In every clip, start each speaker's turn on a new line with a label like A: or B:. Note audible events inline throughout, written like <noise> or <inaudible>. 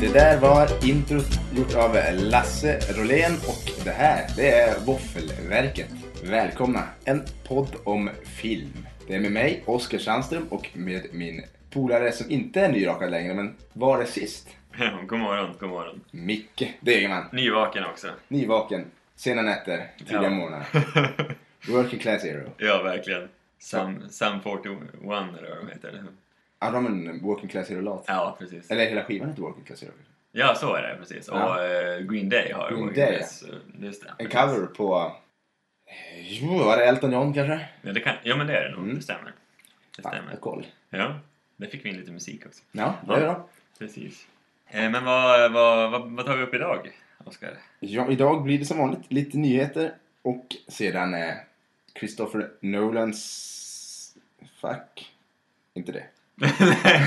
A: Det där var introt gjort av Lasse Rolén och det här, det är Våffelverket. Välkomna! En podd om film. Det är med mig, Oskar Sandström och med min polare som inte är nyrakad längre, men var det sist?
B: <laughs> god morgon, god morgon.
A: Micke Degerman. <laughs>
B: Nyvaken också.
A: Nyvaken, sena nätter, tidiga
B: Ja.
A: morgnar. Working class hero.
B: Ja, verkligen. Sam, Sam 41 eller vad de heter. eller hur?
A: Ja, de har en working class hero-låt.
B: Ja, precis.
A: Eller hela skivan heter working class hero.
B: Ja, så är det precis. Och
A: Ja.
B: eh, Green Day har ju
A: Green
B: varit
A: Day,
B: dess, eh, Just det.
A: En cover på... eh, Jo, var det Elton John kanske?
B: Ja, det kan, ja, men det är det nog.
A: Mm.
B: Det stämmer. Det
A: Fan, jag
B: stämmer.
A: har koll.
B: Ja, där fick vi in lite musik också.
A: Ja, det
B: Ja.
A: är bra.
B: Precis. Eh, men vad, vad, vad, vad tar vi upp idag,
A: <laughs>
B: Oskar? <laughs>
A: Ja, idag blir det som vanligt lite nyheter och sedan eh, Christopher Nolans... Fuck. Inte det.
B: Nej,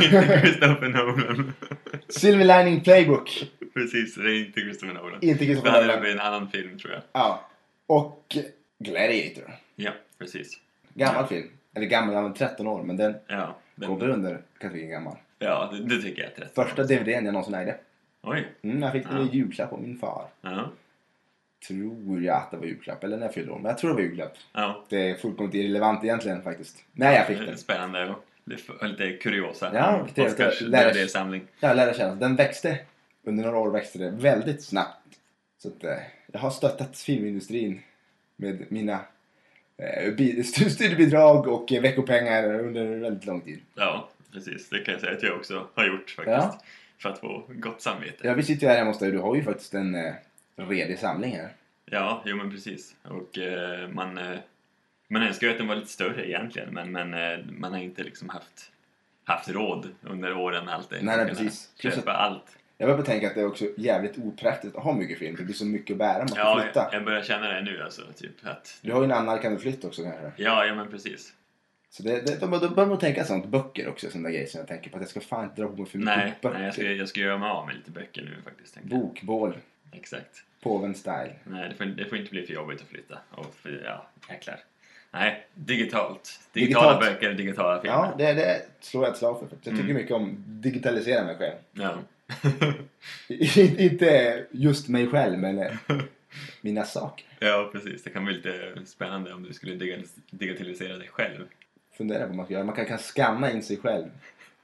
B: inte Christopher Nolan. <laughs>
A: Silver Lining Playbook.
B: precis, det är inte Christopher Nolan.
A: Inte
B: Det
A: Christopher
B: hade
A: Nolan.
B: blivit en annan film, tror jag.
A: Ja. Och Gladiator.
B: Ja, precis.
A: Gammal film. Eller gammal, den var 13 år, men den
B: Ja, den-
A: går väl under kategorin gammal.
B: ja det, det tycker jag är rätt.
A: Första DVDn jag någonsin ägde.
B: Oj.
A: Mm, jag fick den i
B: Ja.
A: julklapp av min far.
B: Ja.
A: Tror jag att det var julklapp, eller när jag fyllde år. Men jag tror det var julklapp.
B: ja.
A: Det är fullkomligt irrelevant egentligen faktiskt. Nej, jag fick
B: Det är
A: den.
B: Spännande och lite- och lite kuriosa.
A: Ja, och trevligt.
B: Oscars
A: Lär oss.
B: DVD-samling.
A: Jag lärde känna. Den växte. Under några år växte det väldigt snabbt. Så att, eh, jag har stöttat filmindustrin med mina eh, bi- studiebidrag och eh, veckopengar under väldigt lång tid.
B: Ja, precis. Det kan jag säga att jag också har gjort faktiskt.
A: Ja.
B: För att få gott samvete.
A: Ja, vi sitter ju här hemma hos dig. Du har ju faktiskt en eh, redig samling här.
B: Ja, jo men precis. Och eh, man, eh, man önskar ju att den var lite större egentligen men, men eh, man har inte liksom haft, haft råd under åren alltid.
A: Nej, nej,
B: Kunna
A: precis. Plus
B: Köpa allt.
A: Jag börjar tänka att det är också jävligt opraktiskt att ha mycket film. Det blir så mycket att bära. Man ska
B: Ja,
A: flytta.
B: jag, jag börjar känna det nu alltså. Typ att,
A: Du har ju en annalkande flytt också kanske.
B: ja, ja men precis.
A: Så det, det, då, då börjar man tänka sånt. Böcker också, sådana grejer som jag tänker på. Att jag ska fan inte dra på mig för mycket
B: Nej,
A: böcker.
B: nej jag, ska, jag ska göra mig av med lite böcker nu faktiskt. tänkte jag.
A: Bokbål.
B: Exakt.
A: Påven style.
B: Nej, det får, det får inte bli för jobbigt att flytta. Och för, ja, jäklar. Nej, digitalt. Digitala
A: Digitalt.
B: böcker, digitala filmer.
A: Ja, det, det slår jag ett slag för. Jag tycker
B: Mm.
A: mycket om digitalisera mig själv.
B: Ja. <laughs>
A: Inte just mig själv, men eh, mina saker.
B: Ja, precis. Det kan bli lite spännande om du skulle diga- digitalisera dig själv.
A: Fundera på vad man ska göra. Man kan, kan skanna in sig själv.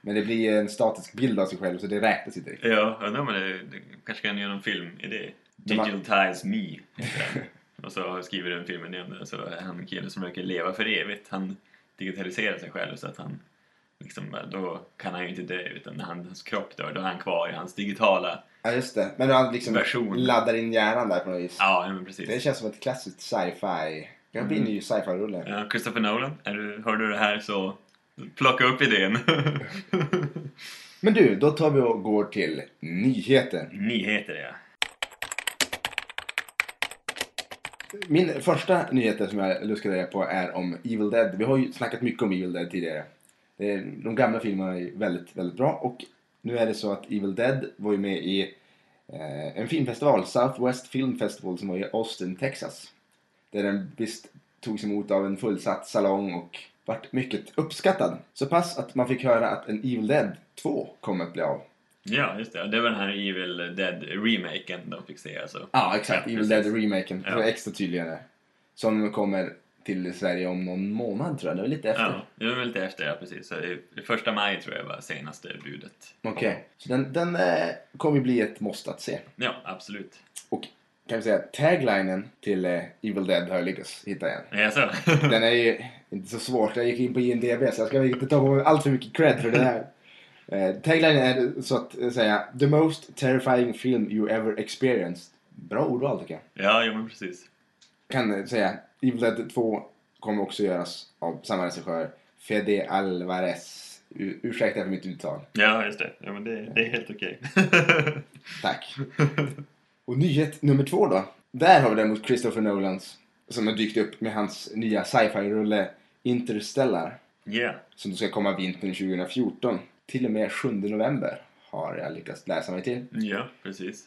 A: Men det blir en statisk bild av sig själv så det räknas inte riktigt.
B: Ja, undrar om det, det kanske kan göra någon filmidé. Digitize me, heter den. Och så skriver du en filmidé om det. Så är han en kille som försöker leva för evigt. Han digitaliserar sig själv så att han liksom, bara- då kan han ju inte dö utan när hans kropp dör, då är han kvar i hans digitala...
A: <laughs> Ja, just det. Men han liksom
B: Version.
A: laddar in hjärnan där på något vis.
B: Ja, men
A: Det
B: precis. Mm.
A: känns som ett klassiskt sci-fi. Jag blir en ny sci-fi-rulle.
B: Ja, Christopher Nolan, är du, hör du det här så plocka
A: <laughs>
B: upp idén.
A: Men du, då tar vi och går till nyheten.
B: Nyheter, ja.
A: Min första nyhet som jag luskade reda på är om Evil Dead. Vi har ju snackat mycket om Evil Dead tidigare. Det är- De gamla filmerna är väldigt, väldigt bra och nu är det så att Evil Dead var ju med i eh, en filmfestival, Southwest Film Festival, som var i Austin, Texas. Där den visst togs emot av en fullsatt salong och vart mycket uppskattad. Så pass att man fick höra att en Evil Dead 2 kommer att bli av.
B: Ja, just det. Det var den här Evil Dead-remaken de fick se alltså.
A: Ja, exakt.
B: Ja,
A: Evil
B: precis.
A: Dead-remaken, för att
B: Ja.
A: vara extra tydligare. Som kommer till Sverige om någon månad tror jag, det är väl lite efter.
B: Ja, det var väl lite efter, ja precis. Så det- det Första maj tror jag var senaste budet.
A: Okej, så den, den eh, kommer ju bli ett måste att se.
B: Ja, absolut.
A: Och kan vi säga att taglinen till eh, Evil Dead har jag lyckats hitta igen.
B: Ja, så.
A: Den är ju inte så svårt, jag gick in på IMDB så jag ska inte ta på mig allt för mycket cred för det
B: <laughs>
A: här. Eh, taglinen är så att eh, säga The most terrifying film you ever experienced. Bra ordval tycker jag.
B: Ja, jo men precis.
A: Kan eh, säga Evil Dead 2 kommer också göras av samma regissör, Fede Alvarez. U- ursäkta för mitt uttal.
B: Ja, just det. Ja, men det, det är
A: <laughs>
B: helt okej. <laughs>
A: Tack. Och nyhet nummer två då. Där har vi däremot Christopher Nolans som har dykt upp med hans nya sci-fi-rulle Interstellar
B: Ja,
A: som ska komma vintern 2014. Till och med 7 november har jag lyckats läsa mig till.
B: ja precis.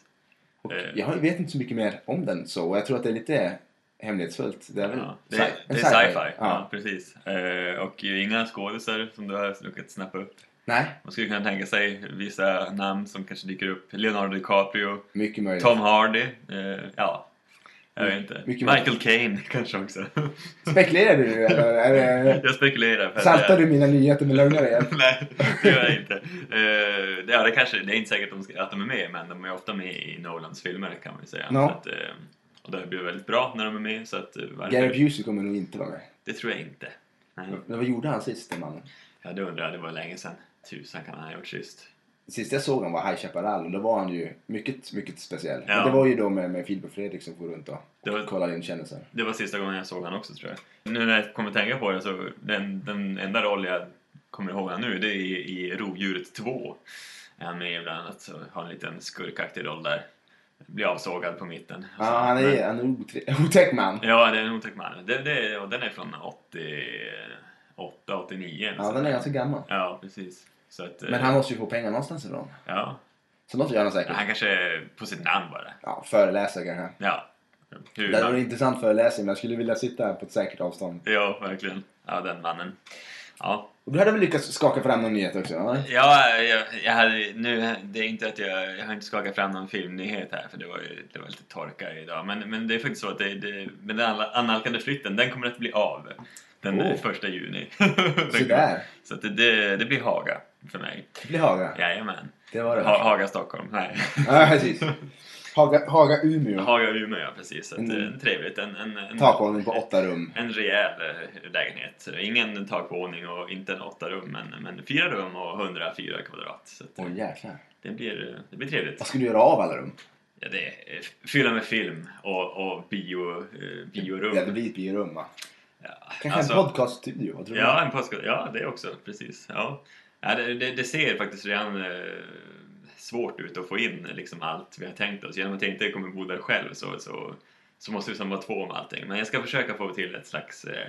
A: Och
B: Eh.
A: jag vet inte så mycket mer om den så och jag tror att det är lite hemlighetsfullt. Det är väl
B: Ja, det,
A: sci-
B: är-
A: en
B: det är sci-fi. Ja,
A: Ja.
B: precis. Eh, och inga skådisar som du har lyckats snappa upp.
A: Nej,
B: Man skulle kunna tänka sig vissa namn som kanske dyker upp. Leonardo DiCaprio,
A: mycket möjligt.
B: Tom Hardy, eh, ja. Jag vet inte.
A: Mycket
B: Michael Caine <laughs> kanske också.
A: Spekulerar du nu eller? eller-
B: jag spekulerar. för att-
A: Eh, Saltar du mina nyheter med lögner igen?
B: <laughs> Nej, det gör jag inte. Eh, det- ja, det, kanske, det är inte säkert att de, ska, att de är med, men de är ofta med i Nolans filmer kan man ju säga.
A: Ja.
B: Så att, eh, och det blir väldigt bra när de är med, så att, eh, varför-
A: Gary Busey kommer nog inte vara med.
B: det tror jag inte. Nej.
A: Men vad gjorde han sist den mannen?
B: Ja, det undrar jag, det var länge sedan. Tusan kan han ha gjort sist.
A: Sist jag såg honom var High Chaparral och då var han ju mycket, mycket speciell.
B: Ja.
A: Och det var ju då med, med Filip och Fredrik som for runt och,
B: Det var-
A: och kollade in kändisar.
B: Det var sista gången jag såg han också tror jag. Nu när jag kommer tänka på det så, den, den enda roll jag kommer ihåg han nu, det är i, i Rovdjuret 2. Är han med bland annat, så har en liten skurkaktig roll där. Blir avsågad på mitten.
A: Ja, han
B: Men-
A: är, han är en otre- <laughs> otäck man.
B: Ja, det är en otäck man. Det, det, och den är från 88, 89.
A: Ja, den är ganska gammal.
B: Ja, precis. Så att, eh,
A: Men han måste ju få pengar någonstans ifrån.
B: ja.
A: Så något gör han
B: Ja,
A: säkert.
B: han kanske är på sitt namn bara.
A: Ja, föreläsare kanske.
B: Ja. Hur
A: Det var
B: han-
A: en intressant föreläsning men jag skulle vilja sitta här på ett säkert avstånd.
B: Ja, verkligen. Ja, den mannen. Ja,
A: Och du hade väl lyckats skaka fram någon nyhet också? va?
B: ja jag, jag hade, nu, det är inte att jag, jag har inte skakat fram någon filmnyhet här för det var, ju- det var lite torka idag. Men, men det är faktiskt så att det, det, men den alla- annalkande flytten, den kommer att bli av den
A: Oh.
B: eh, första juni.
A: <laughs>
B: <laughs>
A: Sådär.
B: så att det, det, det blir Haga för mig.
A: Det blir Haga.
B: Jajamän.
A: Det var det.
B: Ha, Haga Stockholm, nej.
A: Ja, precis. Haga, Haga Umeå.
B: <laughs> Haga Umeå, ja precis. Så att,
A: Mm.
B: mm. Trevligt. En, en, en,
A: Takvåning på åtta rum.
B: en rejäl eh, lägenhet. Ingen takvåning och inte en åtta rum, men, men fyra rum och 104 kvadrat. Så att, eh,
A: Åh jäklar.
B: det, blir, eh, det blir trevligt.
A: Vad skulle du göra av alla rum?
B: Ja, det är, eh, fylla med film och, och bio, eh, biorum.
A: Ja, det blir ett biorum va?
B: Ja,
A: Kanske
B: alltså-
A: en podcaststudio? Vad tror du?
B: Ja, en påsk, ja, det också. Precis. Ja. Ja, det, det, det ser faktiskt redan eh, svårt ut att få in liksom, allt vi har tänkt oss. Genom att jag inte kommer bo där själv så, så, så måste vi som vara två om allting. Men jag ska försöka få till ett slags eh,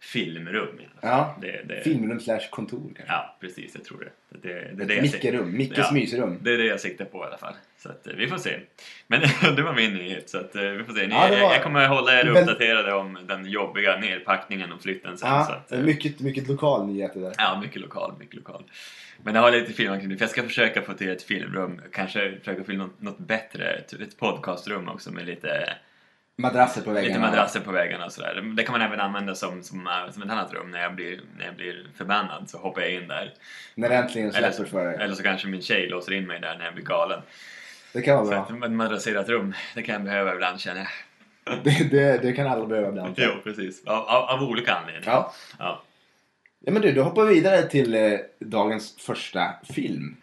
B: filmrum. i alla fall.
A: Ja.
B: Det, det,
A: Filmrum slash kontor kanske?
B: Ja, precis. Jag tror det. Det, det, är det, jag siktar-
A: Mickerum. Mickes
B: Ja.
A: mysrum.
B: det är det jag siktar på i alla fall. Så att, eh, vi får se. Men <laughs> det var min nyhet. Så att, eh, vi får se. Ni,
A: Ja, det var-
B: jag, jag kommer hålla er
A: Men-
B: uppdaterade om den jobbiga nerpackningen och flytten sen. så
A: Ja,
B: att, eh,
A: mycket, mycket lokal nyhet det där.
B: Ja, mycket lokal, mycket lokal. Men jag har lite filmanknytning, för jag ska försöka få till ett filmrum, kanske försöka få till något, något bättre, typ ett podcastrum också med lite,
A: Madrasser på väggarna.
B: lite madrasser på väggarna och sådär. Det kan man även använda som, som, äh, som ett annat rum, när jag, blir, när jag blir förbannad så hoppar jag in där.
A: När det äntligen
B: Eller
A: släpper
B: så,
A: för dig.
B: eller så kanske min tjej låser in mig där när jag blir galen.
A: Det kan vara
B: Så att
A: bra.
B: ett madrasserat rum, det kan jag behöva ibland känner jag.
A: Det, det, det kan alla behöva ibland.
B: <laughs> Jo, precis. Av, av, av olika anledningar.
A: Ja.
B: Ja.
A: ja, men du, då hoppar vi vidare till eh, dagens första film.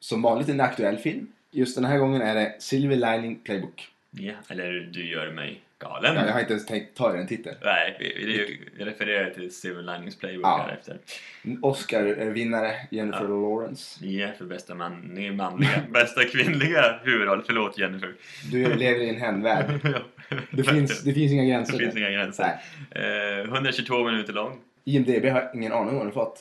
A: Som vanligt en aktuell film. Just den här gången är det Silver Lining Playbook.
B: Ja, eller du gör mig galen.
A: Ja, jag har inte ens tänkt ta i den titeln.
B: Nej, vi, vi, jag refererar till Civil Linings Playbook
A: Ja.
B: här efter.
A: Oscar-vinnare Jennifer Lawrence.
B: Ni är för bästa man, ni är manliga. <laughs> Bästa kvinnliga huvudroll. Förlåt Jennifer.
A: Du lever i en
B: <laughs>
A: hemvärld.
B: Ja,
A: Det finns, det finns inga gränser.
B: det finns inga gränser. Eh, 122 minuter lång.
A: IMDB har jag ingen aning om vad den fått.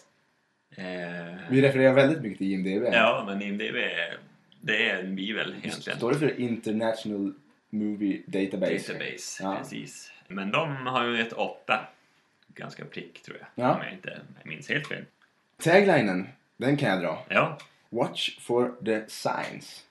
B: Eh,
A: Vi refererar väldigt mycket till IMDB.
B: ja, men IMDB är, det är en bibel egentligen.
A: Står det för International Movie Database?
B: Database,
A: Ja.
B: precis. Men de har ju ett 8. Ganska prick tror jag.
A: Ja.
B: Om jag inte minns helt fel.
A: Taglinen, den kan jag dra.
B: Ja,
A: Watch for the signs.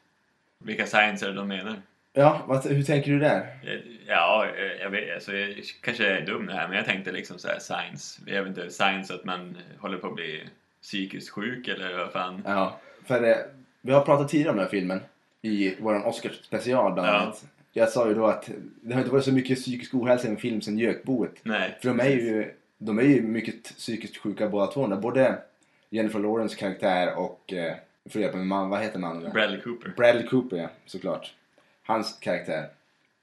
B: vilka signs är det de menar?
A: Ja, vad, hur tänker du där?
B: Eh, Ja, eh, jag vet, alltså, jag kanske är dum det här, men jag tänkte liksom så här science. Jag vet inte, science att man håller på att bli psykiskt sjuk eller vad fan.
A: Ja, för eh, vi har pratat tidigare om den här filmen i vår Oscarsspecial bland
B: Ja.
A: annat. Jag sa ju då att det har inte varit så mycket psykisk ohälsa i en film sedan Gökboet.
B: Nej.
A: För de är ju, de är ju mycket psykiskt sjuka båda två. Både Jennifer Lawrence karaktär och, eh, får hjälpa mig, man, vad heter man?
B: Bradley Cooper.
A: Bradley Cooper, ja, såklart. Hans karaktär.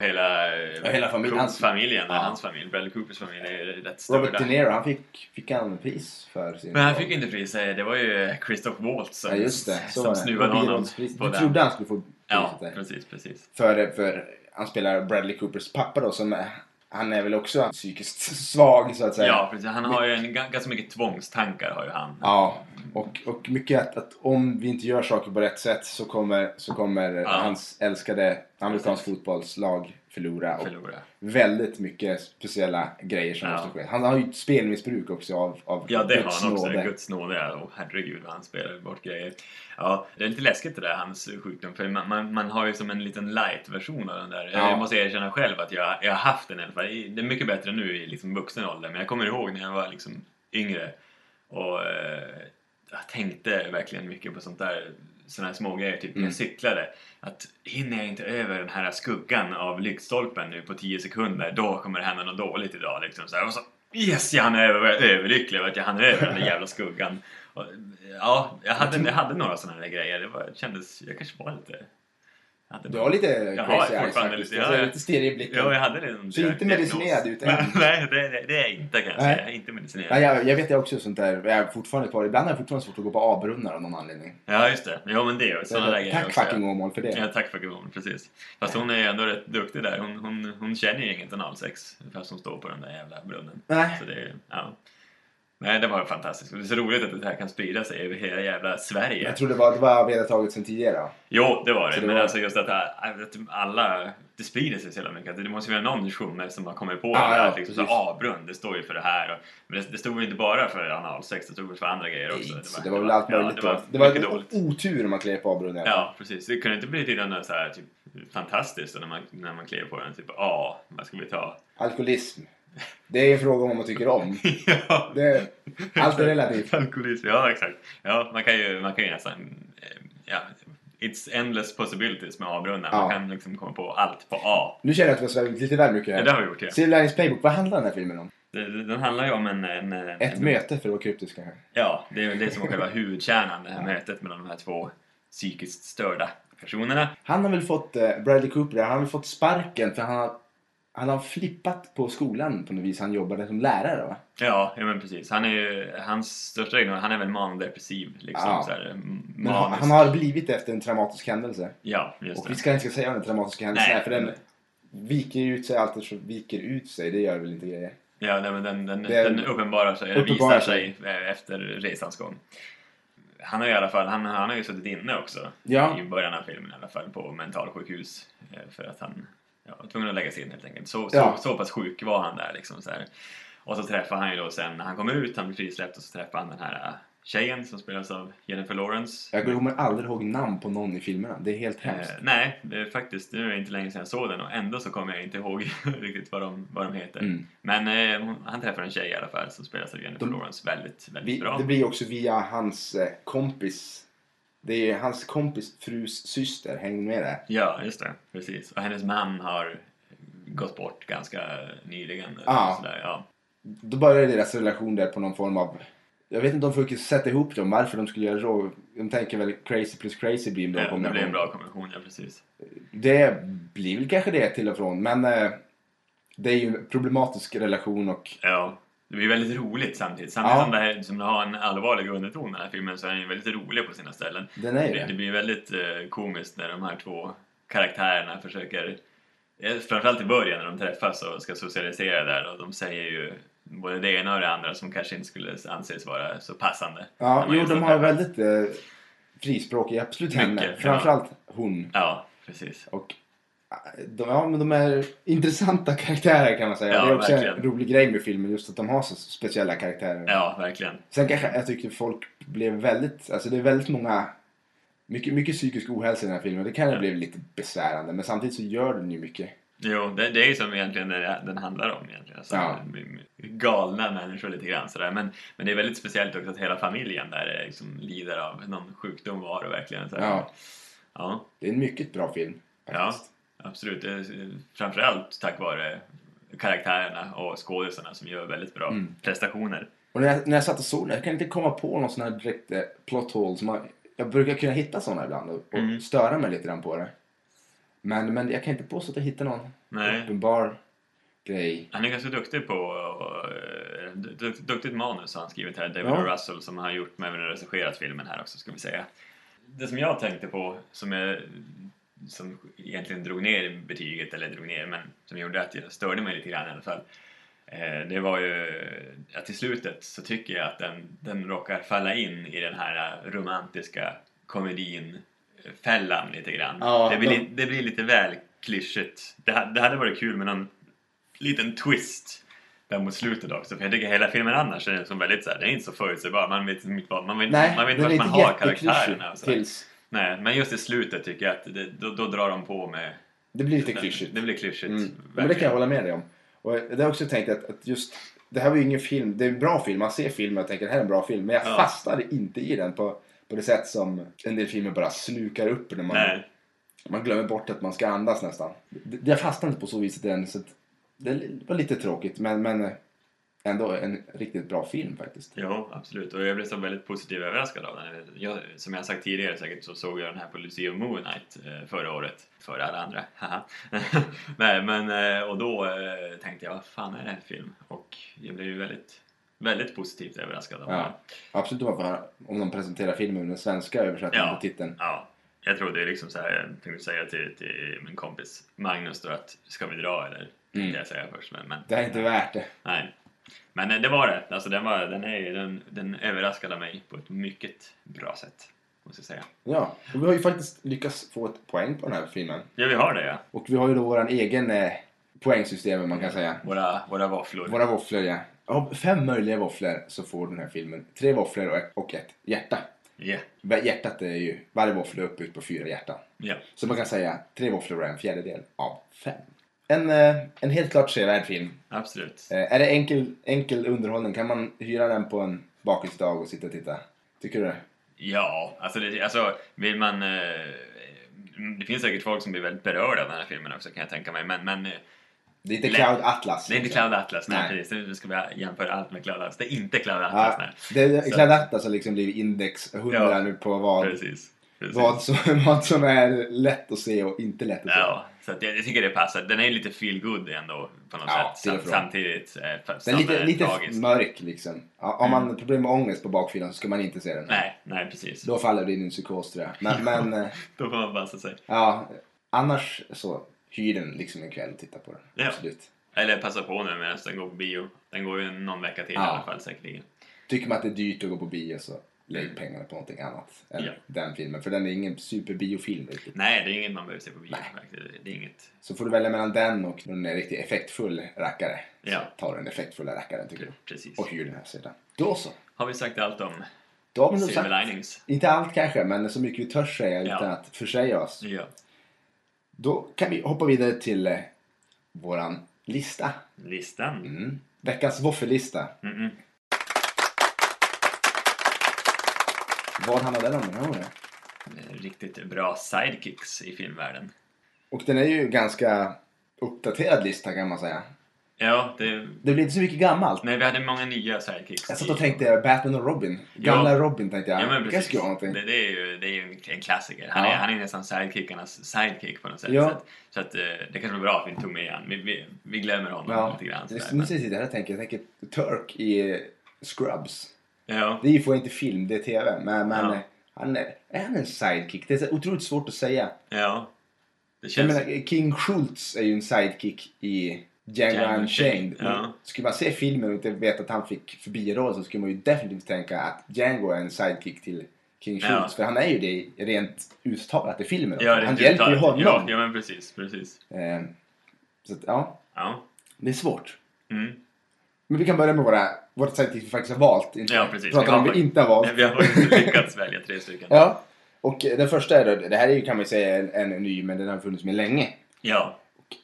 B: Hela, eh,
A: Ja, hela familjen.
B: Coopers familjen.
A: Ja.
B: Hans familj. Bradley Coopers familj är rätt stor.
A: Robert
B: där.
A: De Niro, han fick, fick han pris för sin
B: Men han
A: roll.
B: fick inte pris. eh, Det var ju Christoph Waltz som,
A: Ja just det, så var
B: som
A: det.
B: snuvade
A: Och
B: honom.
A: birollspris.
B: på
A: Du
B: den.
A: trodde han skulle få
B: Ja,
A: priset där.
B: precis, precis.
A: För, för han spelar Bradley Coopers pappa då som är, han är väl också psykiskt <laughs> svag så att säga.
B: Ja, precis. Han har ju en, ga- ganska mycket tvångstankar har ju han.
A: Ja, Och, och mycket att, att om vi inte gör saker på rätt sätt så kommer, så kommer
B: Ja.
A: hans älskade amerikansk
B: Precis.
A: fotbollslag förlora. Och
B: Förlora.
A: väldigt mycket speciella grejer som
B: Ja.
A: måste ske. Han har ju ett spelmissbruk också av, av
B: Ja, det har
A: Guds
B: han också.
A: nåde.
B: Guds nåde. ja. Och herregud vad han spelar bort grejer. Ja, det är lite läskigt det där, hans sjukdom. För man, man, man har ju som en liten light-version av den där.
A: Ja.
B: Jag måste erkänna själv att jag, jag har haft den i alla fall. I- Det är mycket bättre nu i liksom vuxen ålder. Men jag kommer ihåg när jag var liksom yngre. Och eh, jag tänkte verkligen mycket på sånt där. Såna här smågrejer, typ när
A: Mm.
B: jag cyklade. Att hinner jag inte över den här skuggan av lyktstolpen nu på 10 sekunder, då kommer det hända något dåligt idag. Liksom. Så här, och så, yes, jag hann över. Jag är överlycklig över att jag hann över den där jävla skuggan. Och, ja, jag hade, jag hade några sådana där grejer. Det var, kändes, jag kanske var lite... Jag hade
A: Du har lite
B: Jag har
A: crazy eyes
B: fortfarande
A: faktiskt.
B: lite-
A: Alltså,
B: ja, ja.
A: lite stirrig i blicken.
B: Ja, jag hade liksom...
A: Så inte medicinerad ut än.
B: <laughs> Nej, det, det, det är jag inte kan jag
A: Nej.
B: säga. Inte medicinerad.
A: Nej, jag, jag vet jag också sånt där. Jag är fortfarande kvar. Ibland har jag fortfarande svårt att gå på A-brunnar av någon anledning.
B: Ja, just det. Ja, men det är ju sådana där grejer
A: Tack
B: också.
A: fucking Åmål för det.
B: Ja, tack för gummon, precis. Fast hon är ju ändå rätt duktig där. Hon, hon, hon känner ju inget analsex fast hon står på den där jävla brunnen.
A: Nej.
B: Så det, är- ja. Nej, det var fantastiskt. Och Det är så roligt att det här kan sprida sig över hela jävla Sverige.
A: Jag tror det var, det var vedertaget sen tidigare.
B: Jo, det var det.
A: Så det
B: Men
A: var-
B: alltså just att, här- att alla... Det sprider sig så jävla mycket. Att Det måste ju vara någon tjomme som har kommit på
A: Ja,
B: det
A: ja,
B: här. att liksom, så,
A: precis.
B: ah, brunn, det står ju för det här. Och, men det, det stod ju inte bara för analsex, det stod väl för andra grejer också.
A: Så det var väl allt möjligt.
B: Ja, det var,
A: då. det var
B: mycket dåligt.
A: otur om man klev på A-brunnar.
B: Ja, precis. Det kunde inte bli till något så här, typ, fantastiskt när man, när man klev på den. Typ, ja, vad ska vi ta? <laughs>
A: Alkoholism. Det är en fråga om vad man tycker om.
B: ja,
A: Det, allt är relativt.
B: <laughs> Alkoholism, ja exakt. Ja, man kan ju, man kan ju nästan... eh, Ja, it's endless possibilities med A-brunnar. Man
A: Ja.
B: kan liksom komma på allt på A.
A: Nu känner jag att vi har svävat lite väl mycket
B: Ja, det
A: här.
B: har vi gjort, ja.
A: Civil Linings Playbook, vad handlar den här filmen om?
B: Det- Den handlar ju om en... en en-
A: Ett
B: en,
A: möte för att vara kryptisk kanske.
B: Ja, det är väl det som är själva huvudkärnan, det här mötet mellan de här två psykiskt störda personerna.
A: Han har väl fått, eh, Bradley Cooper, där, han har väl fått sparken för han har, han har flippat på skolan på något vis. Han jobbade som lärare va?
B: Ja, ja men precis. Han är ju, hans största egenskap, han är väl manodepressiv liksom.
A: Ja.
B: Så här, m-
A: Men han,
B: manisk.
A: han har blivit efter en traumatisk händelse.
B: Ja, just
A: Och
B: det.
A: vi ska inte säga vad den traumatiska händelsen
B: Nej.
A: är för den viker ut sig alltid så viker ut sig. Det gör väl inte grejer.
B: Ja, nej, men den, den,
A: Det-
B: den uppenbarar sig, eller
A: uppenbarar
B: visar sig eh, efter resans gång. Han har ju i alla fall, han, han har ju suttit inne också.
A: Ja.
B: I början av filmen i alla fall, på mentalsjukhus. eh, För att han ja, var tvungen att läggas in helt enkelt. Så,
A: Ja.
B: så, så pass sjuk var han där liksom. Så här. Och så träffar han ju då sen, när han kommer ut, han blir frisläppt och så träffar han den här eh, tjejen som spelas av Jennifer Lawrence.
A: Jag kommer aldrig ihåg namn på någon i filmerna. Det är helt
B: Eh,
A: hemskt.
B: nej, det är faktiskt, nu är det inte länge sedan jag såg den och ändå så kommer jag inte ihåg <laughs> riktigt vad de, vad de heter.
A: Mm.
B: Men eh, hon, han träffar en tjej i alla fall som spelas av Jennifer
A: De-
B: Lawrence väldigt, väldigt
A: Vi,
B: bra.
A: det blir också via hans eh, kompis. Det är hans kompis frus syster. Häng med där.
B: Ja, just det. Precis. Och hennes man har gått bort ganska nyligen. eller
A: Ja.
B: Sådär, ja.
A: Då börjar deras relation där på någon form av... Jag vet inte om de försöker sätta ihop dem, varför de skulle göra så. De tänker väl crazy plus crazy blir en bra
B: Ja, Eh, det blir en
A: kombination.
B: bra kombination, ja precis.
A: Det blir väl kanske det till och från, men eh, det är ju en problematisk relation och
B: Ja. Det blir väldigt roligt samtidigt. Samtidigt
A: Ja.
B: som, det här, som det har en allvarlig underton den här filmen så är den ju väldigt rolig på sina ställen.
A: den är ju
B: Det, det
A: det.
B: blir väldigt eh, komiskt när de här två karaktärerna försöker, eh, framförallt i början när de träffas och ska socialisera där och de säger ju både det ena och det andra som kanske inte skulle anses vara så passande.
A: Ja,
B: när man
A: jo,
B: just
A: de har
B: har träffats.
A: väldigt eh, frispråkig, absolut
B: Mycket,
A: henne.
B: ja.
A: Framförallt hon.
B: Ja, precis.
A: Och eh, de, ja, men de är intressanta <laughs> karaktärer kan man säga.
B: Ja,
A: det är också en
B: verkligen.
A: rolig grej med filmen, just att de har så speciella karaktärer.
B: Ja, verkligen.
A: Sen kanske jag tyckte folk blev väldigt, alltså det är väldigt många, mycket, mycket psykisk ohälsa i den här filmen. Det kanske
B: Ja.
A: blev lite besvärande, men samtidigt så gör den ju mycket.
B: Jo, det, det är ju som egentligen det den handlar om egentligen. Alltså,
A: Ja.
B: Galna människor lite grann sådär. Men, men det är väldigt speciellt också att hela familjen där eh, liksom lider av någon sjukdom var och verkligen. Så
A: Ja.
B: ja,
A: Det är en mycket bra film.
B: ja,
A: faktiskt.
B: absolut. Eh, Framförallt tack vare karaktärerna och skådisarna som gör väldigt bra
A: Mm.
B: prestationer.
A: Och när jag, när jag satt och såg den, jag kan inte komma på någon sån här direkt eh, plot hole. Som man, jag brukar kunna hitta såna ibland och, och
B: Mm.
A: störa mig lite grann på det. Men, men jag kan inte påstå att jag hittar någon
B: Nej.
A: uppenbar grej.
B: Han är ganska duktig på eh, du- duktigt manus har han skrivit här, David
A: Ja.
B: O. Russell som har gjort med och regisserat filmen här också ska vi säga. Det som jag tänkte på som jag som egentligen drog ner betyget, eller drog ner, men som gjorde att jag störde mig lite grann i alla fall. Eh, det var ju att till slutet så tycker jag att den, den råkar falla in i den här eh, romantiska komedin eh, fällan lite grann.
A: Ja,
B: det, blir,
A: de-
B: li- det blir lite väl klyschigt. Det, ha- det hade varit kul med någon liten twist där mot slutet också. För jag tycker hela filmen annars är som väldigt så här, den är inte så förutsägbar. Man vet inte vad man, vet,
A: Nej,
B: man vet inte
A: den är
B: vart man
A: inte
B: har
A: jätteklyschig
B: karaktärerna. Och så där.
A: tills...
B: Nej, men just i slutet tycker jag att det, då, då drar de på med...
A: Det blir lite klyschigt.
B: Det blir klyschigt.
A: Mm. Men det
B: verkligen.
A: kan jag hålla med dig om. Och det har jag också tänkt att, att just, det här var ju ingen film, det är en bra film, man ser filmen och tänker det här är en bra film. Men jag
B: Ja.
A: fastnade inte i den på, på det sätt som en del filmer bara slukar upp när man,
B: Nej,
A: man glömmer bort att man ska andas nästan. Det, det- jag fastnade inte på så vis i den så att det var lite tråkigt men, men ändå en riktigt bra film faktiskt.
B: jo, absolut. Och jag blev så väldigt positivt överraskad av den. Jag, som jag sagt tidigare säkert så såg jag den här på Lucia Moon Knight eh, förra året. Före alla andra, haha. <laughs> Nej, men eh, och då eh, tänkte jag, vad fan är det här för film? Och jag blev ju väldigt, väldigt positivt överraskad av
A: Ja.
B: den.
A: Absolut om man får höra- om de presenterar filmen med den svenska översättningen
B: Ja.
A: på titeln.
B: Ja, jag trodde liksom så här, jag tänkte säga till, till min kompis Magnus då att ska vi dra eller? Tänkte
A: Mm.
B: jag säga först men, men
A: Det här är inte värt det.
B: nej. Men eh, det var det, alltså den, var, den, är, ju- den, den överraskade mig på ett mycket bra sätt. Måste jag säga.
A: Ja, och vi har ju faktiskt lyckats få ett poäng på den här filmen.
B: Ja vi har det ja,
A: Och vi har ju då våran egen eh, poängsystem man kan säga.
B: våra, våra våfflor.
A: Våra våfflor ja. Av fem möjliga våfflor så får den här filmen tre våfflor och ett, och ett hjärta.
B: Ja,
A: Va- Hjärtat är ju, varje våffla är uppbyggt på fyra hjärtan.
B: ja.
A: Så man kan säga tre våfflor är en fjärdedel av fem. En, eh, en helt klart sevärd film.
B: absolut.
A: Eh, Är det enkel, enkel underhållning kan man hyra den på en bakisdag och sitta och titta. Tycker du det?
B: Ja, alltså, det, alltså vill man... Eh, det finns säkert folk som blir väldigt berörda av den här filmen också kan jag tänka mig. Men, men eh,
A: Det är inte
B: Nej.
A: Cloud Atlas. liksom.
B: det är inte Cloud Atlas, nej,
A: Nej.
B: precis. Nu ska vi jämföra allt med Cloud Atlas. Det är inte Cloud Atlas,
A: Ja,
B: nej.
A: det är
B: Så-
A: Cloud Atlas har liksom blivit index 100
B: Ja.
A: nu på vad,
B: Precis. precis.
A: vad, som, <laughs> vad som är lätt att se och inte lätt att se.
B: Ja, så att jag, jag tycker det passar. Den är lite feel good ändå på något
A: Ja,
B: sätt.
A: till och
B: Sam,
A: från.
B: samtidigt eh, fast
A: Den är lite, lite
B: tragisk.
A: mörk liksom. Ja, Om man har problem med ångest på bakfilan så ska man inte se den.
B: Mm. Nej, nej precis.
A: Då faller det in i en psykos tror jag.
B: <laughs>
A: Men, men eh,
B: Då får man passa sig.
A: ja, annars så hyr den liksom en kväll och titta på den.
B: Ja.
A: Absolut.
B: Eller passa på nu medan den går på bio. Den går ju någon vecka till i
A: Ja.
B: alla fall säkerligen.
A: Tycker man att det är dyrt att gå på bio så lägg pengarna på någonting annat än
B: Ja.
A: den filmen. För den är ingen superbiofilm riktigt.
B: Nej, det är inget man behöver se på bio.
A: Nej.
B: faktiskt. Det är inget.
A: Så får du välja mellan den och någon riktigt effektfull rackare.
B: Ja.
A: Så tar du den effektfulla rackaren tycker du.
B: Precis.
A: Och hyr den här sedan. Då så.
B: Har vi sagt allt om
A: Då har vi nog
B: Silver
A: sagt.
B: Linings?
A: Inte allt kanske, men så mycket vi törs säga
B: Ja.
A: utan att försäga oss.
B: Ja.
A: Då kan vi hoppa vidare till eh, våran lista.
B: Listan?
A: Mm. Veckans våffellista.
B: Mm-mm.
A: Vad handlar den om den här gången?
B: Eh, Riktigt bra sidekicks i filmvärlden.
A: Och den är ju ganska uppdaterad lista kan man säga.
B: Ja, det...
A: Det blir inte så mycket gammalt.
B: Nej, vi hade många nya sidekicks.
A: Jag
B: i-
A: satt och tänkte Batman och Robin. Gamla
B: Ja.
A: Robin tänkte jag.
B: Ja, men
A: jag ska
B: precis.
A: göra någonting.
B: Det, det, är ju, det är ju en- en klassiker. Han,
A: Ja.
B: är, han är nästan sidekickarnas sidekick på något sätt.
A: Ja.
B: Så, att, så att, eh, det kanske var bra att vi inte tog med han. Vi, vi, vi glömmer honom
A: Ja.
B: lite grann.
A: Just
B: sådär.
A: nu sitter jag här och tänker, jag tänker Turk i eh, Scrubs.
B: Men- ja.
A: Det är ju får inte film, det är TV. Men, men
B: Ja.
A: eh, han är, är han en sidekick? Det är så otroligt svårt att säga.
B: ja. Det
A: Jag
B: känns...
A: menar, King Schultz är ju en sidekick i Django Unchained.
B: Django Unchained,
A: Men
B: ja.
A: Skulle man se filmen och inte veta att han fick förbiroll så skulle man ju definitivt tänka att Django är en sidekick till King
B: Ja.
A: Schultz. För han är ju det rent uttalat i filmen.
B: Ja, det är
A: han
B: inte
A: hjälper ju
B: uttalat.
A: honom.
B: Ja, ja, men precis. precis.
A: Eh, Så att, ja,
B: Ja.
A: det är svårt.
B: Mm.
A: Men vi kan börja med våra, vårt sidekick vi faktiskt har valt. Inte
B: Ja, precis.
A: Prata om
B: Vi
A: vi
B: har-
A: inte har valt.
B: Men <laughs> vi har faktiskt lyckats välja tre stycken.
A: <laughs>
B: Ja.
A: Ja. Och eh, den första är då, det här är ju kan man ju säga en, en ny, men den har funnits med länge.
B: ja.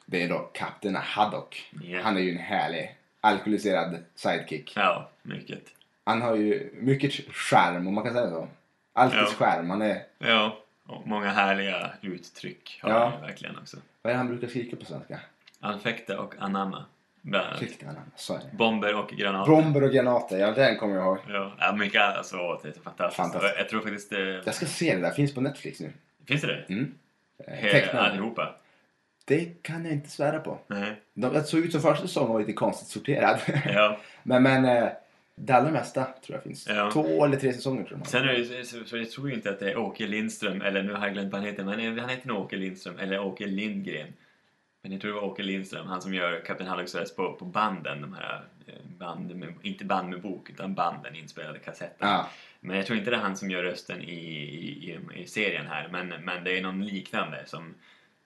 A: Det är då kapten Haddock.
B: Ja.
A: Han är ju en härlig alkoholiserad sidekick.
B: mycket.
A: Han har ju mycket charm om man kan säga så.
B: Ja.
A: Alkis charm. Han är,
B: Ja. Och många härliga uttryck har
A: Ja.
B: han ju verkligen också.
A: vad är det han brukar skrika på svenska?
B: Anfäkta och anamma. Bland annat.
A: Ursäkta, han- så är det.
B: Bomber och granater.
A: Bomber och granater, ja den kommer jag ihåg.
B: Ja, ja, mycket alltså, det är så fantastiskt.
A: Fantastiskt.
B: Och Jag tror faktiskt det...
A: Jag ska se det där, finns på Netflix nu.
B: Finns det det?
A: Mm. Eh,
B: He-
A: Tecknad.
B: Allihopa?
A: Det kan jag inte svära på.
B: Nej.
A: De, jag såg ut som första säsongen var lite konstigt sorterad. <laughs>
B: Ja.
A: men men eh, det allra mesta tror jag finns.
B: Ja.
A: Två eller tre säsonger tror jag. de har.
B: Sen är det, ju- så, så jag tror ju inte att det är Åke Lindström, eller nu har jag glömt vad han heter, men han heter nog Åke Lindström, eller Åke Lindgren. Men Men jag tror det var Åke Lindström, han som gör Kapten Halluxväs på, på banden. De här eh, banden, med, inte band med bok, utan banden inspelade kassetten.
A: Ja.
B: Men jag tror inte det är han som gör rösten i, i, i, i serien här. Men, men det är någon liknande som...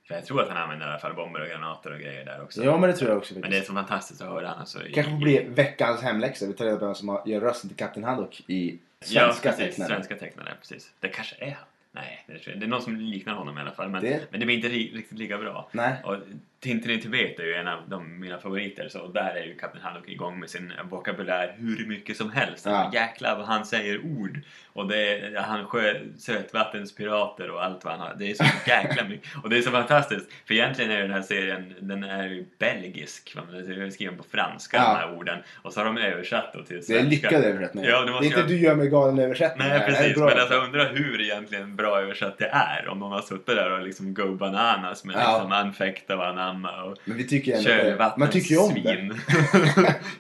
B: För jag tror att han använder i alla fall bomber och granater och grejer där också.
A: ja, men det tror jag också
B: Men
A: faktiskt.
B: det är så fantastiskt att höra han alltså. i-
A: kanske får bli veckans hemläxa. Vi tar reda på vem som har- gör rösten till Kapten Haddock i svenska
B: ja, precis,
A: tecknare.
B: Svenska tecknare, precis. Det kanske är han. Nej, det, tror jag. det är någon som liknar honom i alla fall. Men
A: Det-
B: det, men det blir inte ri, riktigt lika bra.
A: Nej.
B: Och Tintin i Tibet är ju en av de, mina favoriter, så där är ju Kapten Haddock igång med sin vokabulär hur mycket som helst.
A: Ja.
B: Jäklar vad han säger ord! Och det är, han sjö, sötvattenspirater och allt vad han har. Det är så jäkla mycket. Och det är så fantastiskt, för egentligen är ju den här serien, den är ju belgisk, va? men den är skriven på franska,
A: Ja.
B: de här orden. Och så har de översatt då till
A: Det är
B: svenska.
A: en lyckad översättning.
B: Ja, det
A: det är
B: måste
A: inte
B: jag-
A: du gör mig galen översättning.
B: Nej,
A: här. Det är
B: precis.
A: bra.
B: Men alltså, jag undrar hur egentligen bra översatt det är. Om de har suttit där och liksom go bananas med
A: Ja.
B: liksom anfäkta och anamma och
A: Men vi tycker ändå att det- Man tycker ju om det.
B: kölvattensvin. <laughs>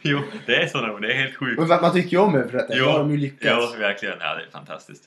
B: jo, det är sådana ord. Det är helt sjukt.
A: Men va- man tycker ju om översättningen.
B: Jo,
A: Då har de ju lyckats.
B: Jo, verkligen. Ja, det är fantastiskt.